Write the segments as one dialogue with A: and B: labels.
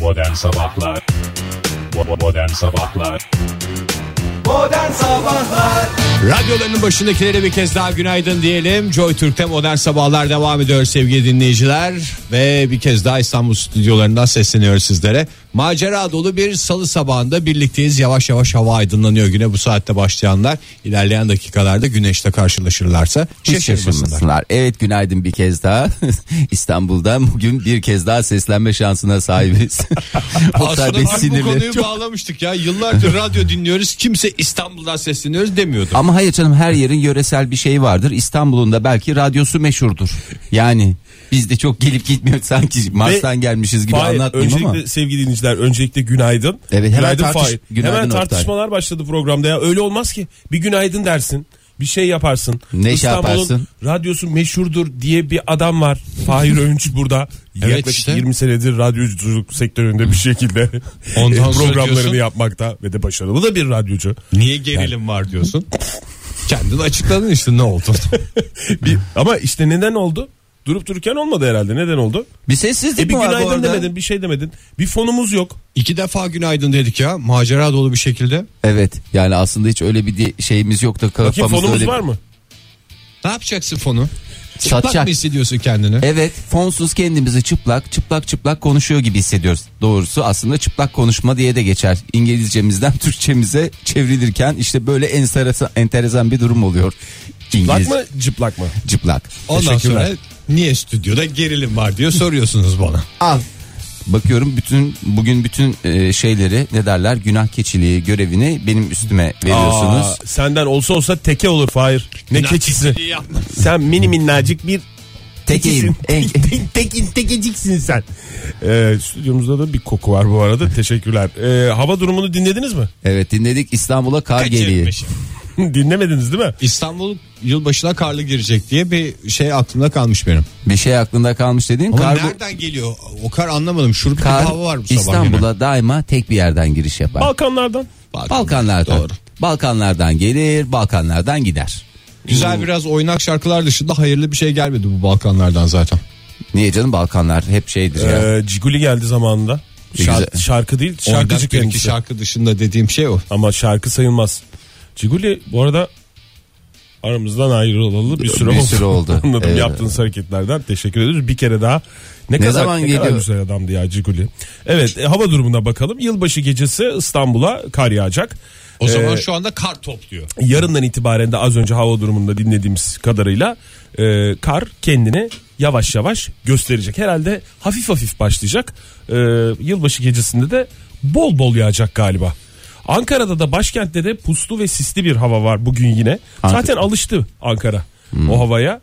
A: Modern Sabahlar Bo- Modern Sabahlar
B: Modern Sabahlar
C: Radyolarının başındakilere bir kez daha günaydın diyelim. Joy Türk'te modern sabahlar devam ediyor sevgili dinleyiciler. Ve bir kez daha İstanbul stüdyolarından sesleniyoruz sizlere. Macera dolu bir salı sabahında birlikteyiz. Yavaş yavaş hava aydınlanıyor güne bu saatte başlayanlar. ilerleyen dakikalarda güneşle karşılaşırlarsa
B: Hiç
C: şaşırmasınlar.
B: şaşırmasınlar. Evet günaydın bir kez daha. İstanbul'dan bugün bir kez daha seslenme şansına sahibiz. Oktay Bey
C: Aslında bak bu
B: sinirli.
C: konuyu bağlamıştık ya. Yıllardır radyo dinliyoruz. Kimse İstanbul'dan sesleniyoruz demiyordu.
B: Ama hayır canım her yerin yöresel bir şeyi vardır. İstanbul'un da belki radyosu meşhurdur. Yani biz de çok gelip gitmiyor sanki Mars'tan gelmişiz gibi
D: Fahir,
B: anlatmayayım
D: öncelikle
B: ama.
D: sevgili dinleyiciler öncelikle günaydın.
B: Evet, hemen
D: günaydın
B: tartış-
D: Fahir.
B: günaydın
D: hemen
B: Oktay.
D: tartışmalar başladı programda ya. Öyle olmaz ki. Bir günaydın dersin. Bir şey yaparsın.
B: Ne şey
D: İstanbul'un
B: yaparsın?
D: radyosu meşhurdur diye bir adam var. Fahir Öğünç burada. Yaklaşık
C: işte.
D: 20 senedir radyoculuk sektöründe bir şekilde
C: Ondan sonra diyorsun.
D: programlarını yapmakta ve de başarılı da bir radyocu.
C: Niye gerilim var diyorsun? Kendin açıkladın işte ne oldu.
D: Bir, ama işte neden oldu? Durup dururken olmadı herhalde. Neden oldu?
B: Bir sessizlik
D: E bir
B: mi var bu
D: günaydın
B: arada?
D: demedin, bir şey demedin. Bir fonumuz yok.
C: İki defa günaydın dedik ya macera dolu bir şekilde.
B: Evet yani aslında hiç öyle bir di- şeyimiz yok da
D: Bakayım
B: kafamızda
D: fonumuz
B: öyle bir-
D: var mı?
C: Ne yapacaksın fonu? Çıplak
B: Satacak.
C: mı hissediyorsun kendini?
B: Evet fonsuz kendimizi çıplak çıplak çıplak konuşuyor gibi hissediyoruz. Doğrusu aslında çıplak konuşma diye de geçer. İngilizcemizden Türkçemize çevrilirken işte böyle enteresan, enteresan bir durum oluyor.
D: Lak
B: İngiliz
D: mı, cıplak mı?
B: çıplak.
C: Ondan sonra
D: Teşekkürler.
C: niye stüdyoda gerilim var diyor soruyorsunuz bana.
B: Al. Bakıyorum bütün bugün bütün e, şeyleri ne derler günah keçiliği görevini benim üstüme veriyorsunuz.
D: Aa, senden olsa olsa teke olur Fahir. Ne
C: Günah
D: keçisi.
C: keçiliği yapma.
D: Sen mini minnacık bir
B: Tekeyim.
D: tekisin. Tek- Tekin tekeciksin sen. Ee, stüdyomuzda da bir koku var bu arada. Teşekkürler. Ee, hava durumunu dinlediniz mi?
B: Evet dinledik İstanbul'a kar geliyor.
C: Kaçırmış.
D: Dinlemediniz değil mi?
C: İstanbul yılbaşına karlı girecek diye bir şey aklımda kalmış benim.
B: Bir şey aklında kalmış dediğin
C: Ama
B: kar,
C: nereden geliyor? O kar anlamadım. Şurup gibi
B: kar
C: hava var bu sabah.
B: İstanbul'a
C: yine.
B: daima tek bir yerden giriş yapar.
D: Balkanlardan.
C: Bak,
B: Balkanlardan.
C: Doğru.
B: Balkanlardan gelir, Balkanlardan gider.
C: Güzel biraz oynak şarkılar dışında hayırlı bir şey gelmedi bu Balkanlardan zaten.
B: Niye canım Balkanlar hep şeydir ya.
D: Ee, Ciguli geldi zamanında.
B: Ne
D: Şar-
B: güzel.
D: şarkı değil
C: Ondan
D: şarkıcı
C: önceki
D: kendisi.
C: şarkı dışında dediğim şey o.
D: Ama şarkı sayılmaz. Ciguli bu arada aramızdan ayrılalı bir süre
B: Bir
D: oldu.
B: süre oldu. Ee,
D: Anladım
B: Evet.
D: yaptığınız hareketlerden teşekkür ediyoruz. Bir kere daha ne, kadar,
B: zaman
D: ne
B: geliyor?
D: kadar güzel adamdı ya Ciguli. Evet e, hava durumuna bakalım. Yılbaşı gecesi İstanbul'a kar yağacak.
C: O zaman
D: Ee,
C: şu anda kar topluyor.
D: yarından itibaren de az önce hava durumunda dinlediğimiz kadarıyla e, kar kendini yavaş yavaş gösterecek. Herhalde hafif hafif başlayacak. E, yılbaşı gecesinde de bol bol yağacak galiba. Ankara'da da başkentte de puslu ve sisli bir hava var bugün yine.
B: Ankara.
D: Zaten alıştı Ankara o havaya.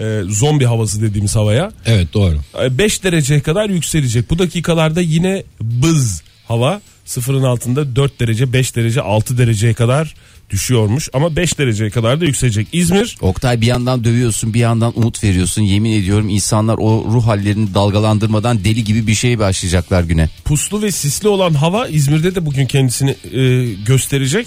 D: E, zombi havası dediğimiz havaya.
C: Evet doğru.
D: 5 dereceye kadar yükselecek. Bu dakikalarda yine bız hava sıfırın altında 4 derece 5 derece 6 dereceye kadar düşüyormuş ama 5 dereceye kadar da yükselecek. İzmir
B: Oktay bir yandan dövüyorsun bir yandan umut veriyorsun. Yemin ediyorum insanlar o ruh hallerini dalgalandırmadan deli gibi bir şey başlayacaklar güne.
D: puslu ve sisli olan hava İzmir'de de bugün kendisini e, gösterecek.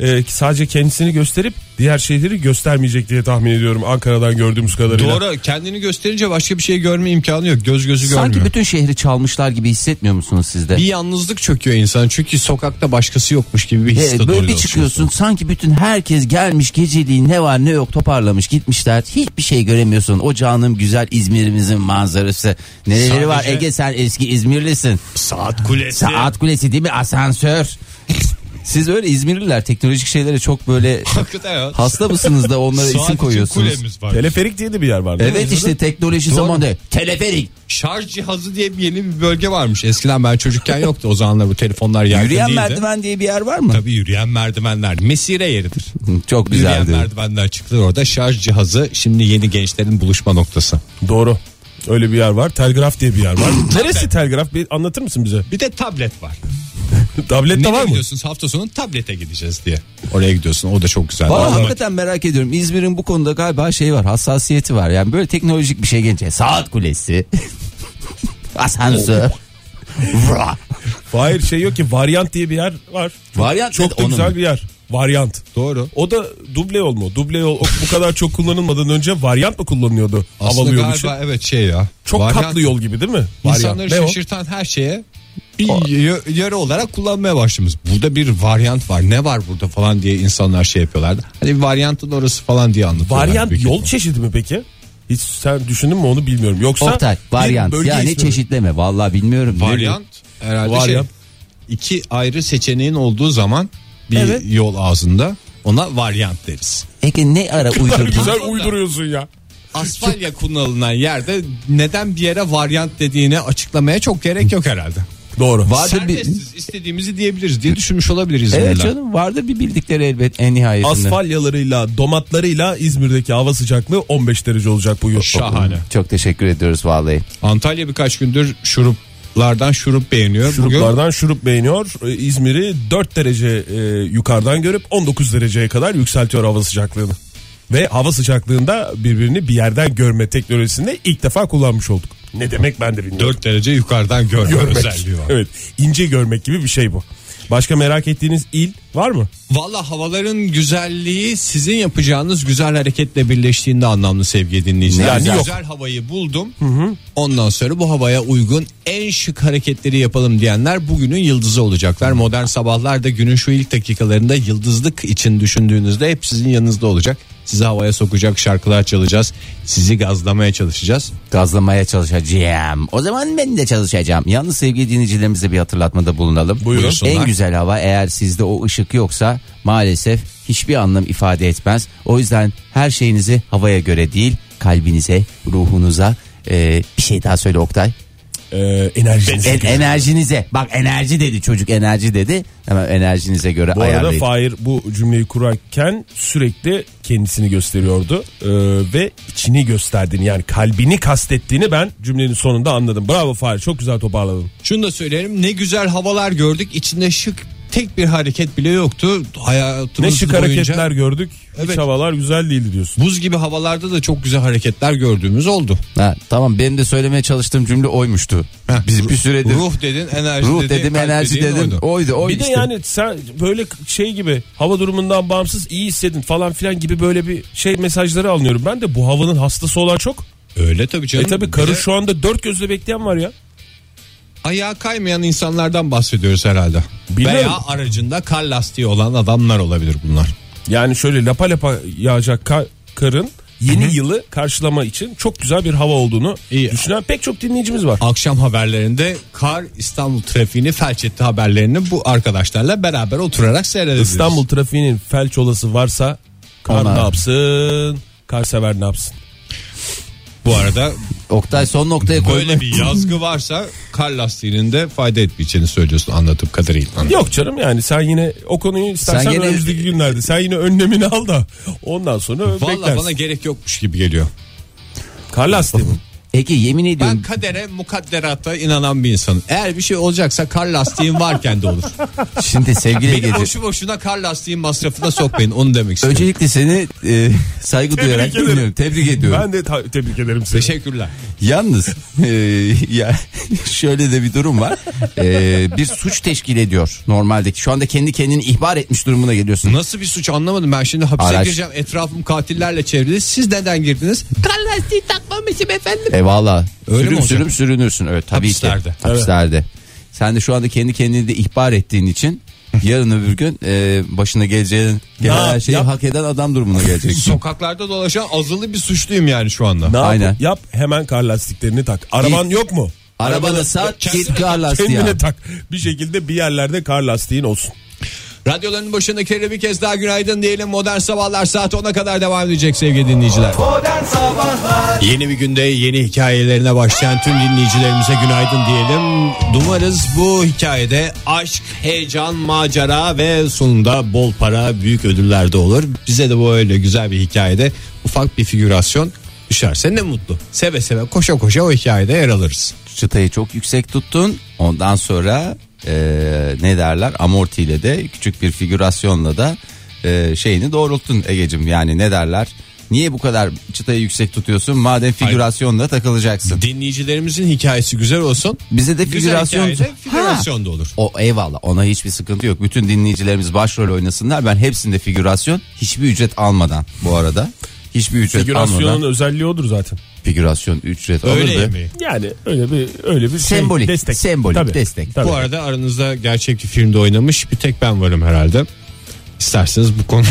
D: E, sadece kendisini gösterip diğer şeyleri göstermeyecek diye tahmin ediyorum Ankara'dan gördüğümüz kadarıyla.
C: Doğru kendini gösterince başka bir şey görme imkanı yok. Göz gözü
B: Sanki
C: görmüyor.
B: bütün şehri çalmışlar gibi hissetmiyor musunuz siz de?
C: Bir yalnızlık çöküyor insan çünkü sokakta başkası yokmuş gibi bir hisse
B: Evet, böyle bir çıkıyorsun sanki bütün herkes gelmiş geceliğin ne var ne yok toparlamış gitmişler hiçbir şey göremiyorsun o canım güzel İzmir'imizin manzarası neleri
C: Sadece-
B: var Ege sen eski İzmirlisin
C: Saat kulesi.
B: Saat kulesi değil mi? Asansör. Siz öyle İzmirliler teknolojik şeylere çok böyle
C: Hakikaten ya.
B: hasta mısınız da onlara
C: Saat
B: isim
C: için
B: koyuyorsunuz.
C: kulemiz var.
D: Teleferik diye de bir yer var. değil mi
B: Evet
D: İzmir'de?
B: işte teknoloji zamanında teleferik.
C: Şarj cihazı diye bir yeni bir bölge varmış. Eskiden ben çocukken yoktu o zamanlar bu telefonlar yaygın
B: Yürüyen
C: değildi.
B: merdiven diye bir yer var mı?
C: Tabii yürüyen merdivenler. Mesire yeridir.
B: Çok
C: Yürüyen
B: güzeldi.
C: merdivenler çıktı orada şarj cihazı şimdi yeni gençlerin buluşma noktası.
D: Doğru. Öyle bir yer var. Telgraf diye bir yer var. Neresi telgraf? Bir anlatır mısın bize?
C: Bir de tablet var.
D: Tablette
C: Nereye
D: var mı?
C: gidiyorsunuz hafta sonu tablete gideceğiz diye. Oraya gidiyorsun o da çok güzel.
B: Valla
C: Ama
B: hakikaten merak ediyorum. İzmir'in bu konuda galiba şey var hassasiyeti var. Yani böyle teknolojik bir şey gelince saat kulesi. Asansör. Vra.
D: Hayır şey yok ki varyant diye bir yer var.
B: Varyant
D: çok da
B: dedi, onu
D: güzel
B: mu?
D: bir yer. Varyant.
C: Doğru.
D: O da duble yol mu? Duble yol o- bu kadar çok kullanılmadan önce varyant mı kullanıyordu?
C: Aslında
D: Havalı yol
C: galiba
D: için.
C: evet şey ya.
D: Çok
C: Varyant-
D: katlı yol gibi değil mi? Varyant.
C: İnsanları
D: Ne o?
C: şaşırtan her şeye bir yö- yöre olarak kullanmaya başladığımız. Burada bir varyant var. Ne var burada falan diye insanlar şey yapıyorlardı. Hani bir varyantın orası falan diye anlatıyorlar.
D: Varyant yol çeşidi mi peki? Hiç sen düşündün mü onu bilmiyorum. Yoksa
B: Oktay
D: bir
B: varyant
D: bölge
B: yani
D: ismi mi?
B: çeşitleme vallahi bilmiyorum. Ne
C: Varyant herhalde
D: Varyant.
C: şey. iki ayrı seçeneğin olduğu zaman bir
D: Evet.
C: yol ağzında ona varyant deriz.
B: Peki ne ara uydurdun?
D: Güzel uyduruyorsun ya.
C: Asfalya kullanılan yerde neden bir yere varyant dediğini açıklamaya çok gerek yok herhalde.
D: Doğru.
B: Vardır bir,
C: Serbestiz istediğimizi diyebiliriz diye düşünmüş olabiliriz.
B: evet
C: illa.
B: canım vardır bir bildikleri elbet en nihayetinde.
D: Asfalyalarıyla, domatlarıyla İzmir'deki hava sıcaklığı 15 derece olacak bu yıl.
C: Şahane.
B: Çok teşekkür ediyoruz vallahi.
C: Antalya birkaç gündür şuruplardan şurup beğeniyor. Bugün
D: Şuruplardan şurup beğeniyor. Ee, İzmir'i 4 derece e, yukarıdan görüp 19 dereceye kadar yükseltiyor hava sıcaklığını. Ve hava sıcaklığında birbirini bir yerden görme teknolojisinde ilk defa kullanmış olduk. Ne demek ben de bilmiyorum.
C: 4 derece yukarıdan görme özelliği var.
D: Evet. ince görmek gibi bir şey bu. Başka merak ettiğiniz il var mı?
C: Valla havaların güzelliği sizin yapacağınız güzel hareketle birleştiğinde anlamlı sevgili dinleyiciler.
D: Yani
C: güzel,
D: yok.
C: Güzel havayı buldum. Ondan sonra bu havaya uygun en şık hareketleri yapalım diyenler bugünün yıldızı olacaklar. Modern sabahlar da günün şu ilk dakikalarında yıldızlık için düşündüğünüzde hep sizin yanınızda olacak. Sizi havaya sokacak şarkılar çalacağız. Sizi gazlamaya çalışacağız.
B: Gazlamaya çalışacağım. O zaman ben de çalışacağım. Yalnız sevgili dinleyicilerimize bir hatırlatmada bulunalım.
C: Buyursunlar.
B: En güzel hava eğer sizde o ışık yoksa maalesef hiçbir anlam ifade etmez. O yüzden her şeyinizi havaya göre değil kalbinize, ruhunuza ee, bir şey daha söyle Oktay.
D: Ee, enerjiniz.
B: En- enerjinize. Bak enerji dedi çocuk enerji dedi. Hemen enerjinize göre
D: Bu arada
B: ayarlayın.
D: Fahir bu cümleyi kurarken sürekli kendisini gösteriyordu Ee, ve içini gösterdiğini yani kalbini kastettiğini ben cümlenin sonunda anladım. Bravo Fahir çok güzel toparladın.
C: Şunu da söyleyelim ne güzel havalar gördük. İçinde şık tek bir hareket bile yoktu.
D: Ne
C: Hayatımız
D: şık
C: boyunca-
D: hareketler gördük.
C: Evet.
D: Hiç havalar güzel değildi diyorsun.
C: Buz gibi havalarda da çok güzel hareketler gördüğümüz oldu.
B: Ha, tamam benim de söylemeye çalıştığım cümle oymuştu. Biz bir süredir
C: Ruh dedin, enerji
B: Ruh
C: dedin,
B: dedim
C: kalp
B: enerji
C: dediğin
B: dedim.
C: oydu.
B: Oydu oydu.
D: Bir de
B: işte.
D: yani sen böyle şey gibi hava durumundan bağımsız iyi hissedin falan filan gibi böyle bir şey mesajları anlıyorum. Ben de bu havanın hastası olan çok.
C: Öyle tabii
D: E
C: canım.
D: tabi
C: Bir
D: karı
C: de
D: şu anda dört gözle bekleyen var ya.
C: ayağa kaymayan insanlardan bahsediyoruz herhalde.
D: Bilmiyorum.
C: Veya aracında kar lastiği olan adamlar olabilir bunlar.
D: Yani şöyle lapa lapa yağacak ka- karın yeni yılı karşılama için çok güzel bir hava olduğunu
C: İyi.
D: düşünen pek çok dinleyicimiz var.
C: Akşam haberlerinde kar İstanbul trafiğini felç etti haberlerini bu arkadaşlarla beraber oturarak seyredeceğiz.
D: İstanbul trafiğinin felç olası varsa kar
B: Ona-
D: ne yapsın? Kar sever ne yapsın?
C: bu arada
B: Oktay son noktaya koy.
C: böyle bir yazgı varsa kar lastiğinin de fayda etmeyeceğini söylüyorsun anlatıp kadarıyla.
D: Yok canım yani sen yine o konuyu istersen
B: Sen yine-
D: önümüzdeki günlerde sen yine önlemini al da ondan sonra
C: Valla
D: beklersin.
C: bana gerek yokmuş gibi geliyor.
D: Kar lastiği mi?
B: Ege yemin ediyorum
C: Ben kadere mukadderata inanan bir insanım. Eğer bir şey olacaksa kar lastiğin varken de olur.
B: şimdi sevgili
C: Beni
B: Ege'ciğim.
C: boşu boşuna kar lastiğin masrafına sokmayın onu demek istiyorum.
B: Öncelikle seni e, saygı duyarak
D: ederim.
B: dinliyorum. Tebrik ediyorum.
D: Ben de ta- tebrik ederim seni.
C: Teşekkürler.
B: Yalnız e, ya şöyle de bir durum var. E, bir suç teşkil ediyor normaldeki. Şu anda kendi kendini ihbar etmiş durumuna geliyorsun.
C: Nasıl bir suç anlamadım ben şimdi hapse
B: Araç-
C: gireceğim etrafım katillerle çevrili siz neden girdiniz? Kar lastiği takmamışım efendim.
B: E valla
C: Öyle mi
B: sürüm
C: olacak?
B: sürüm sürünürsün. Evet, tabii ki.
C: Hapislerde.
B: Hapislerde. Sen de şu anda kendi kendini de ihbar ettiğin için yarın öbür gün e, başına geleceğin gelen her
D: yap,
B: şeyi
D: yap.
B: hak eden adam durumuna geleceksin.
C: Sokaklarda dolaşan azılı bir suçluyum yani şu anda.
D: Ne yap?
B: Aynen.
D: Yap hemen kar lastiklerini tak. Araban yok mu?
B: Arabanı sat git kar lastiği
D: Kendine
B: al.
D: tak. Bir şekilde bir yerlerde kar lastiğin olsun.
C: Radyoların başındakilere bir kez daha günaydın diyelim. Modern Sabahlar saat 10'a kadar devam edecek sevgili dinleyiciler. Yeni bir günde yeni hikayelerine başlayan tüm dinleyicilerimize günaydın diyelim. Umarız bu hikayede aşk, heyecan, macera ve sonunda bol para, büyük ödüller de olur. Bize de böyle güzel bir hikayede ufak bir figürasyon düşerse ne mutlu. Seve seve koşa koşa o hikayede yer alırız.
B: çıtayı çok yüksek tuttun. Ondan sonra e, ne derler amortiyle de küçük bir figürasyonla da e, şeyini doğrulttun Ege'cim. Yani ne derler niye bu kadar çıtayı yüksek tutuyorsun madem figürasyonla takılacaksın.
C: Dinleyicilerimizin hikayesi güzel olsun.
B: Bize de
C: Güzel
B: figürasyon...
C: hikayede
B: Ha!
C: figürasyon da olur.
B: O eyvallah ona hiçbir sıkıntı yok. Bütün dinleyicilerimiz başrol oynasınlar. Ben hepsinde figürasyon hiçbir ücret almadan bu arada. Hiçbir ücret
D: Figürasyonun
B: almadan
D: özelliği odur zaten.
B: figürasyon ücret
C: Öyle
B: alırdı.
C: yemeği.
D: Yani öyle bir öyle bir şey,
B: Sembolik,
D: destek.
B: sembolik destek.
D: tabii.
C: Bu arada aranızda gerçek bir filmde oynamış bir tek ben varım herhalde. İsterseniz bu konuda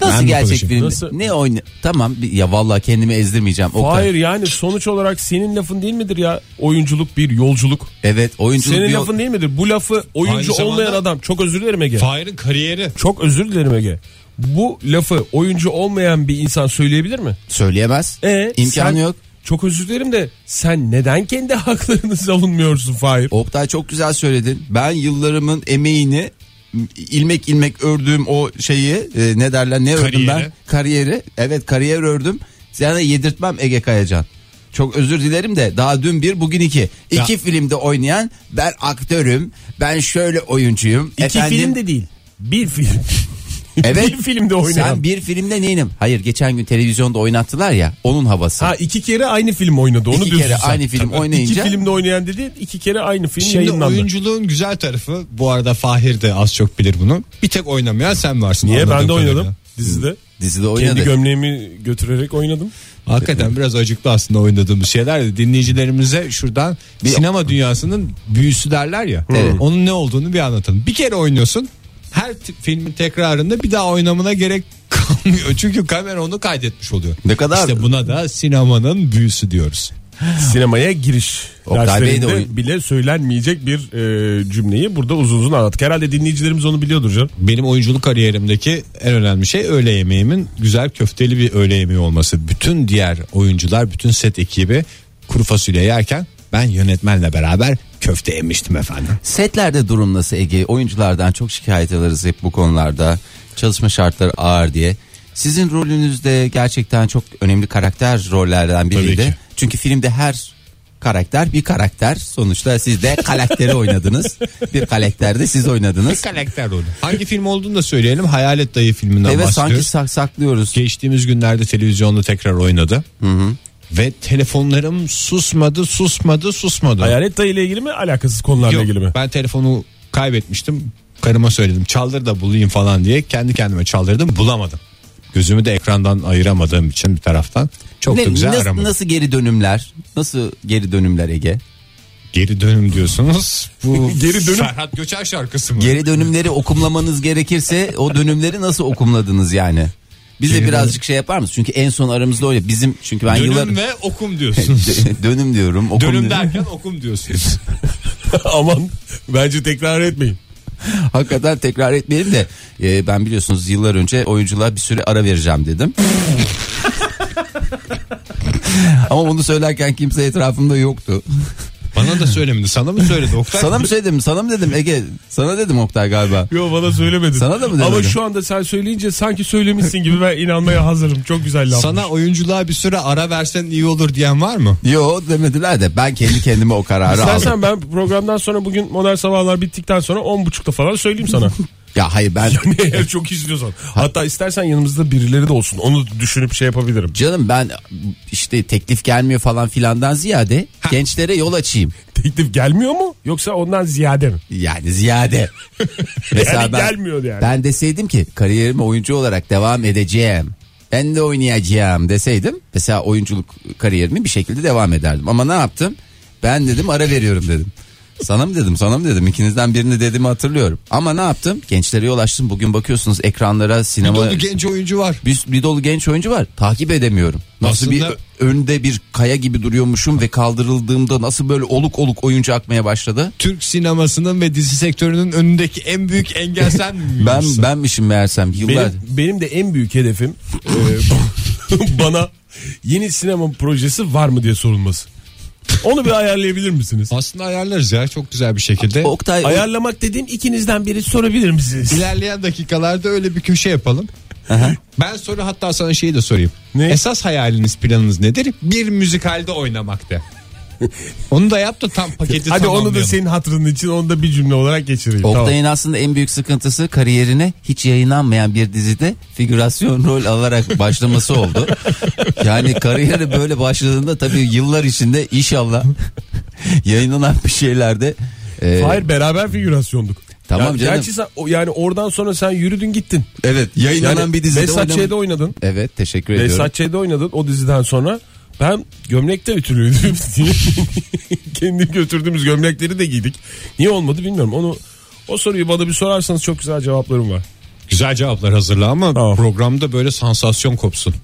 B: Nasıl
C: Ben de
B: gerçek
C: konuşayım.
B: birinde?
D: Nasıl?
B: Ne oyna? Tamam bir- ya vallahi kendimi ezdirmeyeceğim. Oktay.
D: Hayır yani sonuç olarak senin lafın değil midir ya? Oyunculuk bir yolculuk.
B: Evet oyunculuk
D: Senin
B: bir-
D: lafın değil midir? Bu lafı oyuncu
C: Aynı
D: olmayan
C: zamanda-
D: adam çok özür dilerim Ege.
C: Fahir'in kariyeri.
D: Çok özür dilerim Ege. Bu lafı oyuncu olmayan bir insan söyleyebilir mi?
B: söyleyemez.
D: E,
B: İmkanı
D: sen-
B: yok.
D: Çok özür dilerim de sen neden kendi haklarını savunmuyorsun Fahir?
B: Oktay çok güzel söyledin. Ben yıllarımın emeğini ilmek ilmek ördüğüm o şeyi e, ne derler ne ördüm
C: Kariyeri.
B: ben? Kariyeri. Evet kariyer ördüm. Sana yedirtmem Ege Kayacan. Çok özür dilerim de daha dün bir bugün iki. İki filmde oynayan ben aktörüm. Ben şöyle oyuncuyum.
D: İki film de değil. Bir film.
B: Evet.
D: bir filmde oynayan.
B: Sen bir filmde neyinim? Hayır geçen gün televizyonda oynattılar ya onun havası.
D: Ha iki kere aynı film oynadı onu
B: İki
D: diyorsun
B: kere
D: sen.
B: aynı film oynayınca-
D: İki filmde oynayan dedi iki kere aynı film
C: Şimdi
D: yayınlandı.
C: oyunculuğun güzel tarafı bu arada Fahir de az çok bilir bunu. Bir tek oynamayan sen varsın.
D: Niye
C: anladığım
D: ben de
C: kadarıyla.
D: oynadım dizide.
B: Dizide
D: Kendi
B: oynadı.
D: gömleğimi götürerek oynadım.
C: Hakikaten biraz acıklı aslında oynadığımız şeyler de dinleyicilerimize şuradan sinema dünyasının büyüsü derler ya.
B: Evet.
C: Onun ne olduğunu bir anlatalım. Bir kere oynuyorsun. Her t- filmin tekrarında bir daha oynamana gerek kalmıyor. Çünkü kamera onu kaydetmiş oluyor.
B: Ne kadar-
C: İşte buna da sinemanın büyüsü diyoruz.
D: Sinemaya giriş
B: Oktay Bey de
D: derslerinde
B: oyun-
D: bile söylenmeyecek bir e, cümleyi burada uzun uzun anlattık. Herhalde dinleyicilerimiz onu biliyordur canım.
C: Benim oyunculuk kariyerimdeki en önemli şey öğle yemeğimin güzel köfteli bir öğle yemeği olması. Bütün diğer oyuncular, bütün set ekibi kuru fasulye yerken ben yönetmenle beraber köfte yemiştim efendim.
B: Setlerde durum nasıl Ege? Oyunculardan çok şikayet alırız hep bu konularda. Çalışma şartları ağır diye. Sizin rolünüz de gerçekten çok önemli karakter rollerden
C: Tabii
B: biriydi.
C: ki.
B: Çünkü filmde her karakter bir karakter. Sonuçta siz de karakteri oynadınız. Bir karakterde siz oynadınız.
C: karakter rolü. Hangi film olduğunu da söyleyelim. Hayalet Dayı filminden
B: Evet sanki
C: bahsediyoruz.
B: sak saklıyoruz.
C: Geçtiğimiz günlerde televizyonda tekrar oynadı. Ve telefonlarım susmadı, susmadı, susmadı.
D: Hayalet Dayı ile ilgili mi alakasız konularla
C: Yok,
D: ilgili mi?
C: Ben telefonu kaybetmiştim. Karıma söyledim çaldır da bulayım falan diye. Kendi kendime çaldırdım bulamadım. Gözümü de ekrandan ayıramadığım için bir taraftan. Çok
B: Ne-
C: da güzel
B: nas-
C: aramadım.
B: nasıl geri dönümler? Nasıl geri dönümler Ege?
C: Geri dönüm diyorsunuz. Bu
D: Geri dönüm-
C: Ferhat Göçer şarkısı mı?
B: Geri dönümleri okumlamanız gerekirse o dönümleri nasıl okumladınız yani? Bize birazcık şey yapar mısın? Çünkü en son aramızda öyle bizim çünkü ben
C: dönüm
B: yıllar
C: ve okum diyorsunuz.
B: Dö- dönüm diyorum. Okum
C: dönüm
B: diyorum.
C: derken okum diyorsunuz.
D: Aman bence tekrar etmeyin.
B: Hakikaten tekrar etmeyelim de e, ben biliyorsunuz yıllar önce oyunculuğa bir süre ara vereceğim dedim. Ama bunu söylerken kimse etrafımda yoktu.
C: Bana da söylemedi. Sana mı söyledi? Oktay
B: Sana mı söyledim? Sana mı dedim Ege? Sana dedim Oktay galiba.
D: Yo bana söylemedin.
B: Sana da mı
D: Ama
B: demedim?
D: şu anda sen söyleyince sanki söylemişsin gibi ben inanmaya hazırım. Çok güzel laf.
C: Sana oyunculuğa bir süre ara versen iyi olur diyen var mı?
B: Yo demediler de ben kendi kendime o kararı aldım.
D: İstersen ben programdan sonra bugün modern sabahlar bittikten sonra 10.30'da falan söyleyeyim sana.
B: Ya hayır ben
D: Eğer çok istiyorsan. Hatta istersen yanımızda birileri de olsun. Onu düşünüp şey yapabilirim.
B: canım ben işte teklif gelmiyor falan filandan ziyade gençlere yol açayım.
D: Teklif gelmiyor mu? Yoksa ondan ziyade mi?
B: Yani ziyade. Mesela
D: Yani gelmiyor yani.
B: Ben deseydim ki kariyerime oyuncu olarak devam edeceğim. Ben de oynayacağım deseydim. Mesela oyunculuk kariyerimi bir şekilde devam ederdim. Ama ne yaptım? Ben dedim ara veriyorum dedim. Sana mı dedim sana mı dedim ikinizden birini dediğimi hatırlıyorum. Ama ne yaptım? Gençlere yol açtım. Bugün bakıyorsunuz ekranlara
C: Bir
B: sinema
C: dolu genç oyuncu var.
B: bir, bir dolu genç oyuncu var. Takip edemiyorum. Nasıl
C: Aslında-
B: bir ö- önde bir kaya gibi duruyormuşum ve kaldırıldığımda nasıl böyle oluk oluk oyuncu akmaya başladı.
C: Türk sinemasının ve dizi sektörünün önündeki en büyük engel sen
B: Ben
C: misin?
B: benmişim meğersem yıllar.
D: Benim, benim de en büyük hedefim e, bu- bana yeni sinema projesi var mı diye sorulması. Onu bir ayarlayabilir misiniz?
C: Aslında ayarlarız ya çok güzel bir
D: e,
C: şekilde.
B: Oktay
D: Ayarlamak dediğim ikinizden biri sorabilir misiniz?
C: İlerleyen dakikalarda öyle bir köşe yapalım. Ben sonra hatta sana şeyi de sorayım.
D: Ne?
C: Esas hayaliniz planınız nedir? Bir müzikalde oynamak de. onu da yap da tam paketi
D: Hadi onu da
C: tamamlayalım.
D: senin hatırın için onu da bir cümle olarak geçireyim. Tamam.
B: Oktay'ın aslında en büyük sıkıntısı kariyerine hiç yayınlanmayan bir dizide figürasyon rol alarak başlaması oldu. Yani kariyeri böyle başladığında tabii yıllar içinde inşallah yayınlanan bir şeylerde e,
D: Hayır beraber figürasyonduk.
B: Tamam
D: yani
B: canım.
D: Gerçi sen, o- yani oradan sonra sen yürüdün gittin.
B: Evet yayınlanan
D: Yani
B: bir dizide
D: Behzatçı'da
B: oynam-
D: oynadın.
B: Evet teşekkür ediyorum.
D: Behzatçı'da oynadın o diziden sonra. Ben gömlekte ütülüydüm diye kendi götürdüğümüz gömlekleri de giydik. Niye olmadı bilmiyorum. Onu o soruyu bana bir sorarsanız çok güzel cevaplarım var.
C: Güzel cevaplar hazırla ama
D: Tamam.
C: programda böyle sansasyon kopsun.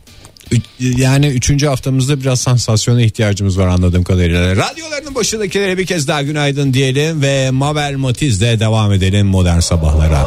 C: Ü- Yani üçüncü haftamızda biraz sansasyona ihtiyacımız var anladığım kadarıyla. Radyolarının başındakilere bir kez daha günaydın diyelim ve Mabel Matiz'le devam edelim modern sabahlara.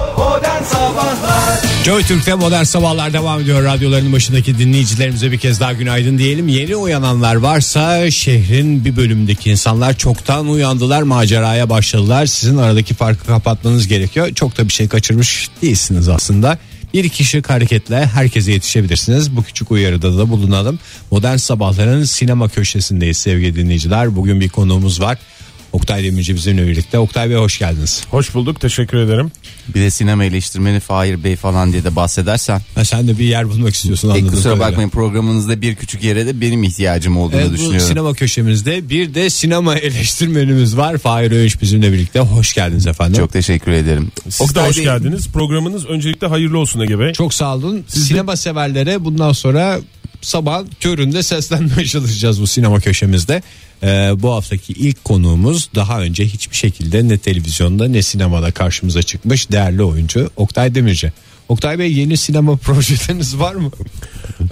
C: Joy Türk'te modern sabahlar devam ediyor. Radyolarının başındaki dinleyicilerimize bir kez daha günaydın diyelim. Yeni uyananlar varsa şehrin bir bölümündeki insanlar çoktan uyandılar maceraya başladılar. Sizin aradaki farkı kapatmanız gerekiyor. Çok da bir şey kaçırmış değilsiniz aslında. Bir iki şık hareketle herkese yetişebilirsiniz. Bu küçük uyarıda da bulunalım. Modern sabahların sinema köşesindeyiz sevgili dinleyiciler. Bugün bir konuğumuz var. Oktay Demirci bizimle birlikte. Oktay Bey hoş geldiniz.
D: Hoş bulduk teşekkür ederim.
B: Bir de sinema eleştirmeni Fahir Bey falan diye de bahsedersen.
C: Ha, sen de bir yer bulmak istiyorsun
B: E,
C: anladım.
B: kusura bakmayın programınızda bir küçük yere de benim ihtiyacım olduğunu
C: Evet, bu
B: düşünüyorum.
C: sinema köşemizde bir de sinema eleştirmenimiz var. Fahir Öğünç bizimle birlikte. Hoş geldiniz efendim.
B: Çok teşekkür ederim.
D: Siz de hoş geldiniz. Programınız öncelikle hayırlı olsun Ege Bey.
C: Çok sağ olun. sinema severlere bundan sonra sabah köründe seslenmeye çalışacağız bu sinema köşemizde. Ee, bu haftaki ilk konuğumuz daha önce hiçbir şekilde ne televizyonda ne sinemada karşımıza çıkmış değerli oyuncu Oktay Demirci. Oktay Bey yeni sinema projeleriniz var mı?